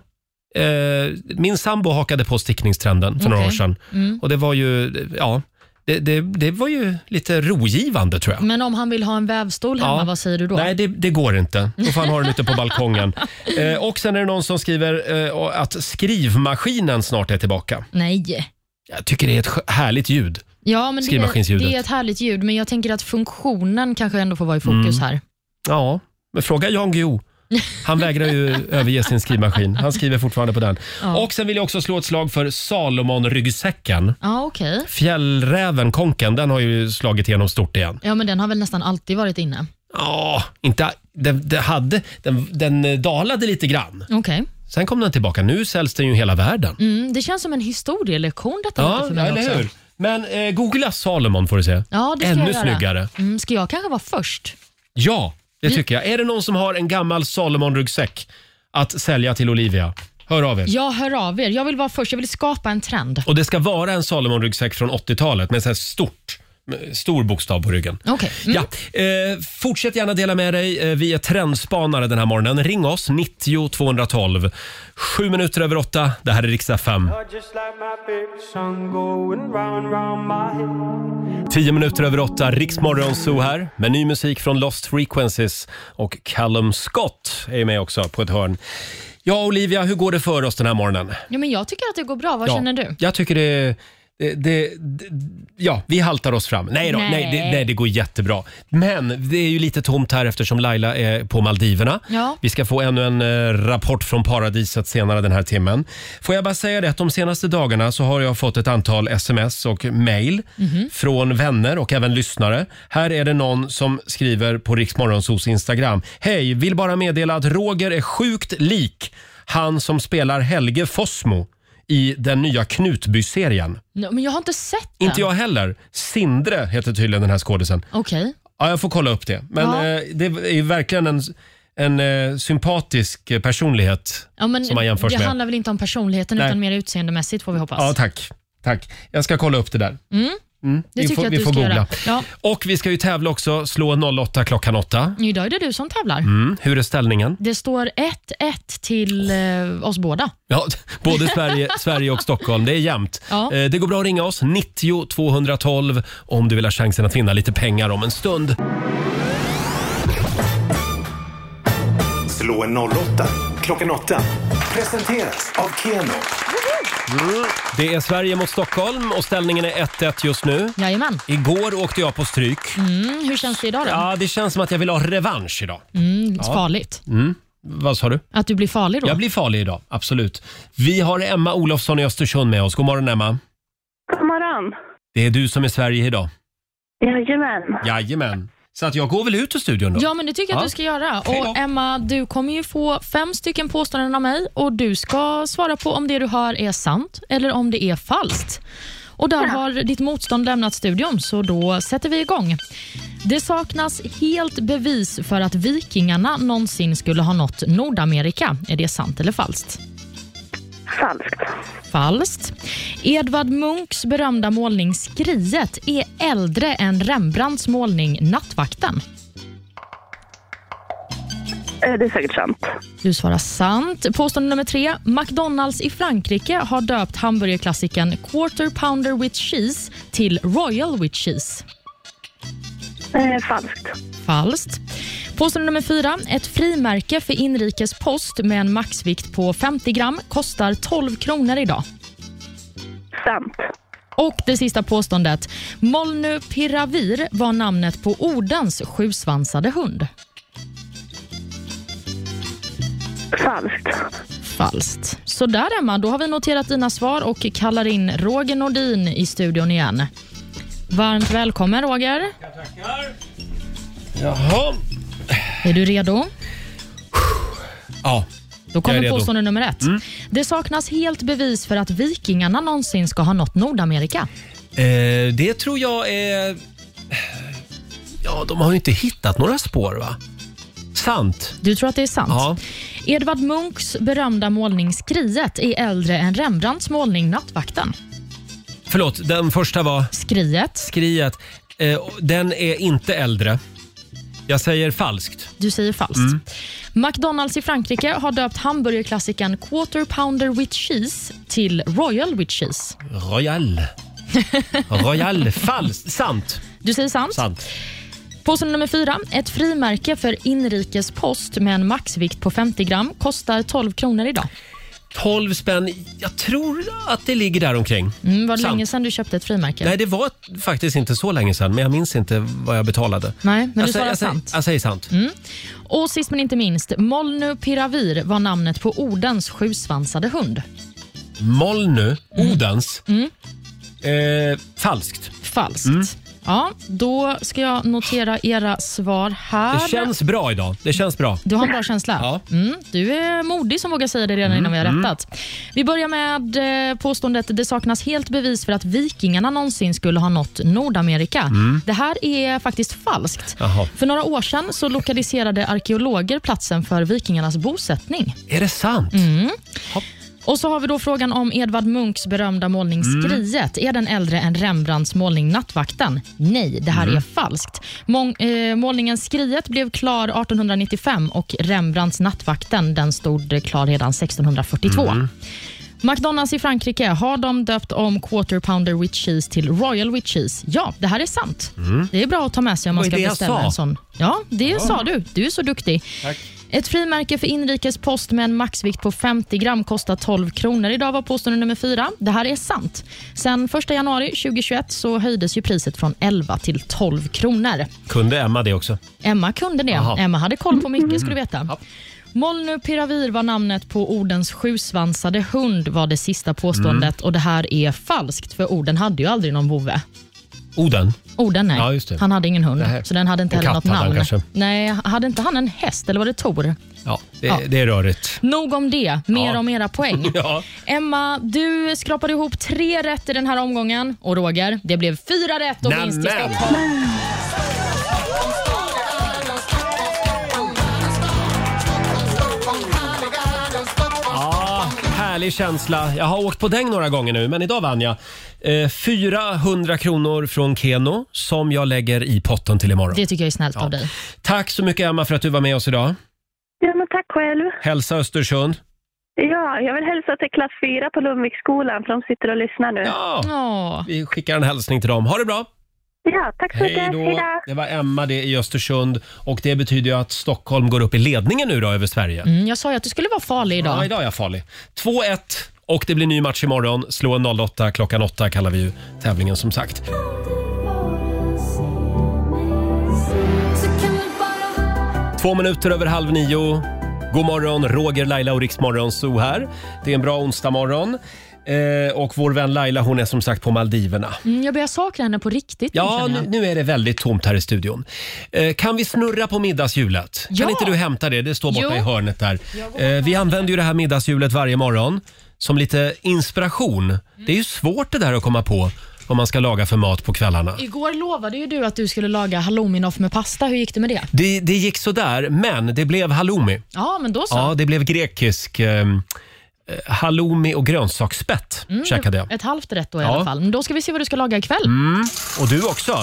Speaker 1: Ja. Eh, min sambo hakade på stickningstrenden för några
Speaker 2: Okej.
Speaker 1: år sedan.
Speaker 2: Mm.
Speaker 1: Och det var ju, ja, det, det, det var ju lite rogivande tror jag.
Speaker 2: Men om han vill ha en vävstol hemma,
Speaker 1: Ja.
Speaker 2: vad säger du då?
Speaker 1: Nej, det, det går inte. Då får han ha den ute på balkongen. Eh, och sen är det någon som skriver eh, att skrivmaskinen snart är tillbaka.
Speaker 2: Nej.
Speaker 1: Jag tycker det är ett skö- härligt ljud.
Speaker 2: Ja, men det, är-
Speaker 1: Skrivmaskinsljudet.
Speaker 2: det är ett härligt ljud, men jag tänker att funktionen kanske ändå får vara i fokus
Speaker 1: Mm.
Speaker 2: här.
Speaker 1: Ja, men fråga Jan Guillou. Han vägrar ju överge sin skrivmaskin. Han skriver fortfarande på den.
Speaker 2: Ja.
Speaker 1: Och sen vill jag också slå ett slag för Salomon-ryggsäcken.
Speaker 2: Ja, okej.
Speaker 1: Fjällräven, konken, den har ju slagit igenom stort igen.
Speaker 2: Ja, men den har väl nästan alltid varit inne.
Speaker 1: Ja, inte... Den, den, hade, den, den dalade lite grann.
Speaker 2: Okej.
Speaker 1: Sen kom den tillbaka. Nu säljs den ju i hela världen.
Speaker 2: Mm, det känns som en historielektion detta låter
Speaker 1: Ja,
Speaker 2: för mig
Speaker 1: eller
Speaker 2: också.
Speaker 1: hur? Men eh, googla Salomon får du se.
Speaker 2: Ja, det ska
Speaker 1: Ännu
Speaker 2: jag göra.
Speaker 1: snyggare.
Speaker 2: Mm, ska jag kanske vara först?
Speaker 1: Ja, det tycker jag. Är det någon som har en gammal Salomon-ryggsäck att sälja till Olivia? Hör av er.
Speaker 2: Jag hör av er. Jag vill vara först. Jag vill skapa en trend.
Speaker 1: Och det ska vara en Salomon-ryggsäck från 80-talet med så här stort, med stor bokstav på ryggen.
Speaker 2: Okej. Mm,
Speaker 1: Ja, eh, fortsätt gärna dela med dig. Eh, Vi är trendspanare den här morgonen. Ring oss, 90 212. Sju minuter över åtta. Det här är riksdag 5.
Speaker 5: Just like my favorite song going round, round my head.
Speaker 1: Tio minuter över åtta, Riksmorgon Zoo här med ny musik från Lost Frequencies och Callum Scott är med också på ett hörn. Ja, Olivia, hur går det för oss den här morgonen?
Speaker 2: Ja, men jag tycker att det går bra. Vad
Speaker 1: ja,
Speaker 2: känner du?
Speaker 1: Jag tycker det, det, det, det... Ja, vi haltar oss fram. Nej då, nej.
Speaker 2: Nej.
Speaker 1: det, nej, det går jättebra. Men det är ju lite tomt här eftersom Laila är på Maldiverna.
Speaker 2: Ja.
Speaker 1: Vi ska få ännu en eh, rapport från paradiset senare den här timmen. Får jag bara säga det att de senaste dagarna så har jag fått ett antal sms och mail
Speaker 6: Mhm.
Speaker 1: från vänner och även lyssnare. Här är det någon som skriver på Riksmorgonsos Instagram. Hej, vill bara meddela att Roger är sjukt lik han som spelar Helge Fossmo i den nya Knutby-serien.
Speaker 2: Nej, Men jag har inte sett den.
Speaker 1: Inte jag heller. Sindre heter tydligen den här skådisen.
Speaker 2: Okej.
Speaker 1: Ja, jag får kolla upp det. Men
Speaker 2: Ja.
Speaker 1: eh, det är ju verkligen en, en eh, sympatisk eh, personlighet
Speaker 2: Ja, men
Speaker 1: som man jämförs
Speaker 2: det
Speaker 1: med.
Speaker 2: handlar väl inte om personligheten
Speaker 1: Nej.
Speaker 2: utan mer utseendemässigt får vi hoppas.
Speaker 1: Ja, tack. Tack. Jag ska kolla upp det där.
Speaker 2: Mm,
Speaker 1: Mm. vi
Speaker 2: det tycker
Speaker 1: får,
Speaker 2: jag att
Speaker 1: vi
Speaker 2: du
Speaker 1: får
Speaker 2: ska
Speaker 1: googla.
Speaker 2: göra. Ja.
Speaker 1: Och vi ska ju tävla också. Slå 08 klockan 8.
Speaker 2: Idag är det du som tävlar.
Speaker 1: Mm. Hur är ställningen?
Speaker 2: Det står 1-1 till eh, oss båda.
Speaker 1: Ja, både Sverige, Sverige och Stockholm. Det är jämnt.
Speaker 2: Ja.
Speaker 1: Eh, Det går bra att ringa oss, 90 212, om du vill ha chansen att vinna lite pengar om en stund.
Speaker 17: Slå en 08 klockan 8. Presenteras av Keno.
Speaker 1: Mm. Det är Sverige mot Stockholm och ställningen är 1-1 just nu.
Speaker 2: Jajamän.
Speaker 1: Igår åkte jag på stryk.
Speaker 2: Mm, hur känns det idag då?
Speaker 1: Ja, det känns som att jag vill ha revansch idag.
Speaker 2: Mm,
Speaker 1: Ja.
Speaker 2: Farligt.
Speaker 1: Mm. Vad sa du?
Speaker 2: Att du blir farlig då?
Speaker 1: Jag blir farlig idag, absolut. Vi har Emma Olofsson i Östersund med oss. God morgon Emma.
Speaker 12: God morgon.
Speaker 1: Det är du som är Sverige idag.
Speaker 12: Jajamän.
Speaker 1: Jajamän. Så att jag går väl ut ur studion då?
Speaker 2: Ja, men det tycker jag
Speaker 1: Ja.
Speaker 2: att du ska göra. Och Emma, du kommer ju få fem stycken påståenden av mig och du ska svara på om det du hör är sant eller om det är falskt. Och där har ditt motstånd lämnat studion, så då sätter vi igång. Det saknas helt bevis för att vikingarna någonsin skulle ha nått Nordamerika. Är det sant eller falskt?
Speaker 12: Falskt.
Speaker 2: Falskt. Edvard Munchs berömda målning Skriet är äldre än Rembrandts målning Nattvakten.
Speaker 12: Eh, Det är säkert sant.
Speaker 2: Du svarar sant. Påstående nummer tre. McDonalds i Frankrike har döpt hamburgerklassikern Quarter Pounder with Cheese till Royal with Cheese.
Speaker 12: Eh, falskt.
Speaker 2: Falskt. Påstående nummer fyra. Ett frimärke för inrikes post med en maxvikt på 50 gram kostar 12 kronor idag.
Speaker 12: Sant.
Speaker 2: Och det sista påståendet. Molnu Piravir var namnet på Odens sjusvansade hund.
Speaker 12: Falskt.
Speaker 2: Falskt. Så där Emma, då har vi noterat dina svar och kallar in Roger Nordin i studion igen. Varmt välkommen Roger.
Speaker 1: Jaha.
Speaker 2: Är du redo?
Speaker 1: Ja,
Speaker 2: Då
Speaker 1: jag är
Speaker 2: kommer
Speaker 1: redo. Mm.
Speaker 2: påstående nummer ett. Det saknas helt bevis för att vikingarna någonsin ska ha nått Nordamerika.
Speaker 1: Eh, det tror jag är... Ja, de har ju inte hittat några spår va? Sant.
Speaker 2: Du tror att det är sant?
Speaker 1: Ja.
Speaker 2: Edvard Munchs berömda målning Skriet är äldre än Rembrandts målning Nattvakten.
Speaker 1: Förlåt, den första var...
Speaker 2: Skriet.
Speaker 1: Skriet. Eh, och den är inte äldre. Jag säger falskt.
Speaker 2: Du säger falskt.
Speaker 1: Mm.
Speaker 2: McDonalds i Frankrike har döpt hamburgerklassikern Quarter Pounder with Cheese till Royal with Cheese.
Speaker 1: Royal. Royal. falskt. Sant.
Speaker 2: Du säger sant?
Speaker 1: Sant.
Speaker 2: Påse nummer fyra. Ett frimärke för inrikes post med en maxvikt på 50 gram kostar 12 kronor idag.
Speaker 1: 12 spänn. Jag tror att det ligger där omkring.
Speaker 2: Mm, var det
Speaker 1: Sant.
Speaker 2: länge sedan du köpte ett frimärke?
Speaker 1: Nej, det var faktiskt inte så länge sedan, men jag minns inte vad jag betalade.
Speaker 2: Nej, men
Speaker 1: jag säger-
Speaker 2: du svarar
Speaker 1: jag säger-
Speaker 2: sant. Mm.
Speaker 1: Jag säger sant.
Speaker 2: Och sist men inte minst, Molnu Piravir var namnet på Odens sjusvansade hund.
Speaker 1: Molnu, Odens.
Speaker 2: Mm.
Speaker 1: Eh, falskt.
Speaker 2: Falskt. Ja, då ska jag notera era svar här.
Speaker 1: Det känns bra idag. Det känns bra.
Speaker 2: Du har en bra känsla?
Speaker 1: Ja.
Speaker 2: Mm, du är modig som vågar säga det redan
Speaker 1: Mm,
Speaker 2: innan vi har
Speaker 1: mm.
Speaker 2: rättat. Vi börjar med eh, påståendet det saknas helt bevis för att vikingarna någonsin skulle ha nått Nordamerika.
Speaker 6: Mm.
Speaker 2: Det här är faktiskt falskt.
Speaker 6: Jaha.
Speaker 2: För några år sedan så lokaliserade arkeologer platsen för vikingarnas bosättning.
Speaker 1: Är det sant?
Speaker 2: Mm. Och så har vi då frågan om Edvard Munchs berömda målning
Speaker 6: Mm.
Speaker 2: Skriet. Är den äldre än Rembrandts målning Nattvakten? Nej, det här
Speaker 6: Mm.
Speaker 2: är falskt. Mång, eh, målningen Skriet blev klar 1895 och Rembrandts Nattvakten den stod eh, klar redan 1642.
Speaker 6: Mm.
Speaker 2: McDonalds i Frankrike, har de döpt om quarter pounder with cheese till royal with cheese? Ja, det här är sant.
Speaker 6: Mm.
Speaker 2: Det är bra att ta med sig om man
Speaker 6: Oj,
Speaker 2: ska
Speaker 6: det jag
Speaker 2: beställa
Speaker 6: sa.
Speaker 2: en sån. Ja, det
Speaker 6: Ja.
Speaker 2: sa du. Du är så duktig. Ett frimärke för inrikes post med en maxvikt på 50 gram kostar 12 kronor. Idag var påstående nummer fyra. Det här är sant. Sen 1 januari 2021 så höjdes ju priset från 11 till 12 kronor.
Speaker 1: Kunde Emma det också?
Speaker 2: Emma kunde det.
Speaker 1: Jaha.
Speaker 2: Emma hade koll på
Speaker 1: Mm.
Speaker 2: mycket skulle du veta. Molnu Piravir var namnet på ordens sjusvansade hund var det sista påståendet
Speaker 1: Mm.
Speaker 2: och det här är falskt för orden hade ju aldrig någon vovve.
Speaker 1: Oden?
Speaker 2: Orden nej.
Speaker 1: Ja, just det.
Speaker 2: Han hade ingen hund
Speaker 1: Nej.
Speaker 2: så den hade inte
Speaker 1: En
Speaker 2: heller
Speaker 1: katt
Speaker 2: något
Speaker 1: hade han
Speaker 2: namn.
Speaker 1: kanske.
Speaker 2: Nej, hade inte han en häst eller var det Tor?
Speaker 1: Ja, det,
Speaker 2: Ja.
Speaker 1: det är rörigt.
Speaker 2: Nog om det, mer
Speaker 1: Ja.
Speaker 2: om era poäng.
Speaker 1: Ja.
Speaker 2: Emma, du skrapade ihop tre rätt i den här omgången. Och Roger, det blev fyra rätt och vinst i
Speaker 6: Nämen.
Speaker 2: Stockholm.
Speaker 1: Ja, härlig känsla. Jag har åkt på däng några gånger nu, men idag vann jag. Eh, 400 kronor från Keno som jag lägger i potten till imorgon.
Speaker 2: Det tycker jag är snällt av dig.
Speaker 1: Tack så mycket Emma för att du var med oss idag.
Speaker 12: Ja, men tack själv.
Speaker 1: Hälsa Östersund.
Speaker 12: Ja, jag vill hälsa till klass 4 på Lundviksskolan, för de sitter och lyssnar nu.
Speaker 1: Ja. Vi skickar en hälsning till dem. Ha det bra!
Speaker 12: Ja, tack så mycket.
Speaker 1: Hej då! Det var Emma det i Östersund och det betyder ju att Stockholm går upp i ledningen nu då över Sverige.
Speaker 2: Mm, jag sa ju att du skulle vara farlig idag.
Speaker 1: Ja, idag är jag farlig. 2-1 och det blir ny match imorgon. Slå en 08 klockan 8 kallar vi ju tävlingen som sagt. Två minuter över halv nio. God morgon, Roger, Laila och Riksmorgon Zoo här. Det är en bra onsdagmorgon. Eh, och vår vän Laila hon är som sagt på Maldiverna.
Speaker 2: Mm, jag börjar sakna henne på riktigt.
Speaker 1: Ja, nu, nu är det väldigt tomt här i studion. Eh, kan vi snurra på middagshjulet?
Speaker 2: Ja.
Speaker 1: Kan inte du hämta det? Det står borta
Speaker 2: Jo.
Speaker 1: i hörnet där. Eh, vi använder ju det här middagshjulet varje morgon som lite inspiration.
Speaker 2: Mm.
Speaker 1: Det är ju svårt det där att komma på vad man ska laga för mat på kvällarna.
Speaker 2: Igår lovade ju du att du skulle laga hallouminoff med pasta. Hur gick det med det?
Speaker 1: Det, det gick sådär, men det blev halloumi.
Speaker 2: Ja, men då så.
Speaker 1: Ja, det blev grekisk eh, halloumi och grönsaksspett
Speaker 2: Mm,
Speaker 1: käkade jag.
Speaker 2: Ett halvt rätt då i
Speaker 1: Ja.
Speaker 2: alla fall. Men Då ska vi se vad du ska laga ikväll.
Speaker 1: Mm. Och du också.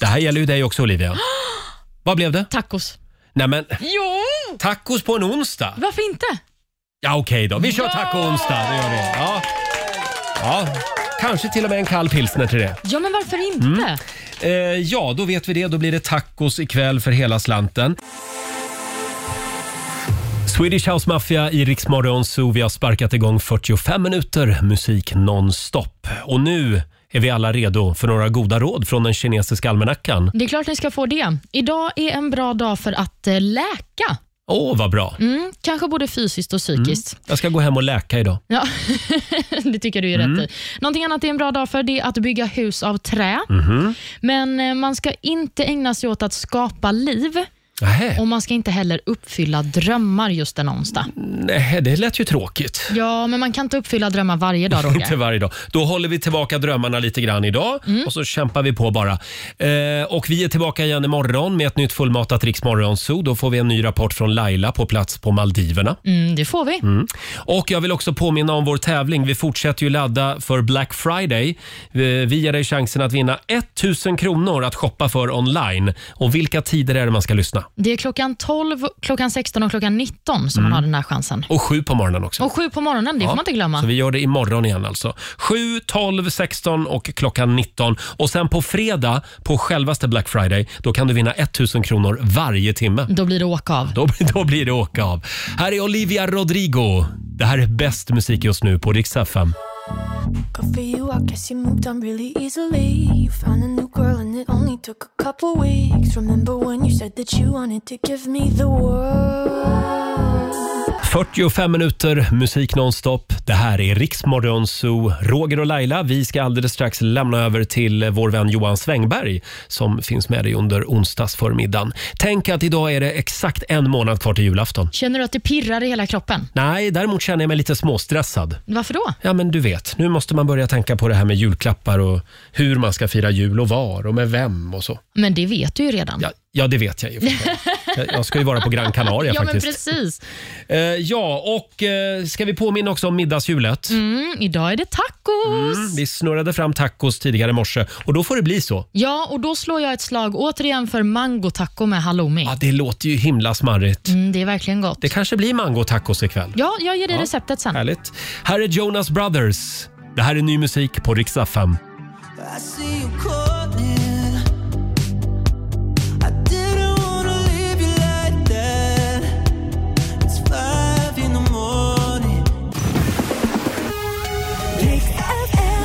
Speaker 1: Det här gäller ju dig också Olivia. Vad blev det?
Speaker 2: Tacos.
Speaker 1: Nej men,
Speaker 2: Jo!
Speaker 1: tacos på en onsdag?
Speaker 2: Varför inte?
Speaker 1: Ja okej då, vi kör taco-onsdag. Det gör vi. Ja. ja, kanske till och med en kall pilsner till det.
Speaker 2: Ja, men varför inte?
Speaker 1: Mm. Eh, ja, då vet vi det. Då blir det tacos ikväll för hela slanten. Swedish House Mafia i Rix Morgon Zoo. Vi har sparkat igång 45 minuter musik nonstop. Och nu är vi alla redo för några goda råd från den kinesiska almanackan.
Speaker 2: Det är klart ni ska få det. Idag är en bra dag för att eh, läka.
Speaker 1: Åh, vad bra!
Speaker 2: Mm, kanske både fysiskt och psykiskt.
Speaker 1: Jag ska gå hem och läka idag.
Speaker 2: Ja, det tycker du är
Speaker 1: Mm.
Speaker 2: rätt i. Någonting annat det är en bra dag för det är att bygga hus av trä.
Speaker 1: Mhm.
Speaker 2: Men eh, man ska inte ägna sig åt att skapa liv. Och man ska inte heller uppfylla drömmar just en onsdag.
Speaker 1: Nej, det lät ju tråkigt.
Speaker 2: Ja, men man kan inte uppfylla drömmar varje dag, Roger.
Speaker 1: Inte varje dag. Då håller vi tillbaka drömmarna lite grann idag och så kämpar vi på bara. Eh, och vi är tillbaka igen imorgon med ett nytt fullmatat Rix Morgonzoo. Då får vi en ny rapport från Laila på plats på Maldiverna.
Speaker 2: Mm, det får vi.
Speaker 1: Mm. Och jag vill också påminna om vår tävling. Vi fortsätter ju ladda för Black Friday. Eh, Vi ger dig chansen att vinna 1000 kronor att shoppa för online. Och vilka tider är det man ska lyssna?
Speaker 2: Det är klockan 12, klockan 16 och klockan 19 som
Speaker 1: Mm.
Speaker 2: man har den här chansen.
Speaker 1: Och sju på morgonen också.
Speaker 2: Och sju på morgonen, det
Speaker 1: Ja,
Speaker 2: får man inte glömma.
Speaker 1: Så vi gör det imorgon igen alltså. 7, 12, 16 och klockan 19. Och sen på fredag, på självaste Black Friday, då kan du vinna 1000 kronor varje timme.
Speaker 2: Då blir det åka av.
Speaker 1: Då, då blir det åka av. Här är Olivia Rodrigo. Det här är bäst musik just nu på Rix FM.
Speaker 18: Good for you, I guess you moved on really easily. You found a new girl and it only took a couple weeks. Remember when you said that you wanted to give me the world?
Speaker 1: 45 minuter musik nonstop. Det här är Riksmorgon Zoo. Roger och Laila, vi ska alldeles strax lämna över till vår vän Johan Svängberg som finns med dig under onsdagsförmiddagen. Tänk att idag är det exakt en månad kvar till julafton.
Speaker 2: Känner du att det pirrar i hela kroppen?
Speaker 1: Nej, däremot känner jag mig lite småstressad.
Speaker 2: Varför då?
Speaker 1: Ja, men du vet, nu måste man börja tänka på det här med julklappar och hur man ska fira jul och var och med vem och så.
Speaker 2: Men det vet du ju redan.
Speaker 1: Ja, ja det vet jag ju. Jag- Jag ska ju vara på Gran Canaria
Speaker 2: ja men
Speaker 1: faktiskt.
Speaker 2: precis.
Speaker 1: Eh, ja, och eh, ska vi påminna också om middagshjulet?
Speaker 2: Mm, idag är det tacos.
Speaker 1: Mm, vi snurrade fram tacos tidigare i morse och då får det bli så.
Speaker 2: Ja, och då slår jag ett slag återigen för mangotaco med halloumi.
Speaker 1: Ja, det låter ju himla smarrigt.
Speaker 2: Mm, det är verkligen gott.
Speaker 1: Det kanske blir mangotacos ikväll.
Speaker 2: Ja, jag ger dig
Speaker 1: Ja.
Speaker 2: receptet sen.
Speaker 1: Härligt. Här är Jonas Brothers. Det här är ny musik på riksdag 5.
Speaker 6: I see you calling. I didn't wanna leave you like that. It's five in the morning. Riks FM.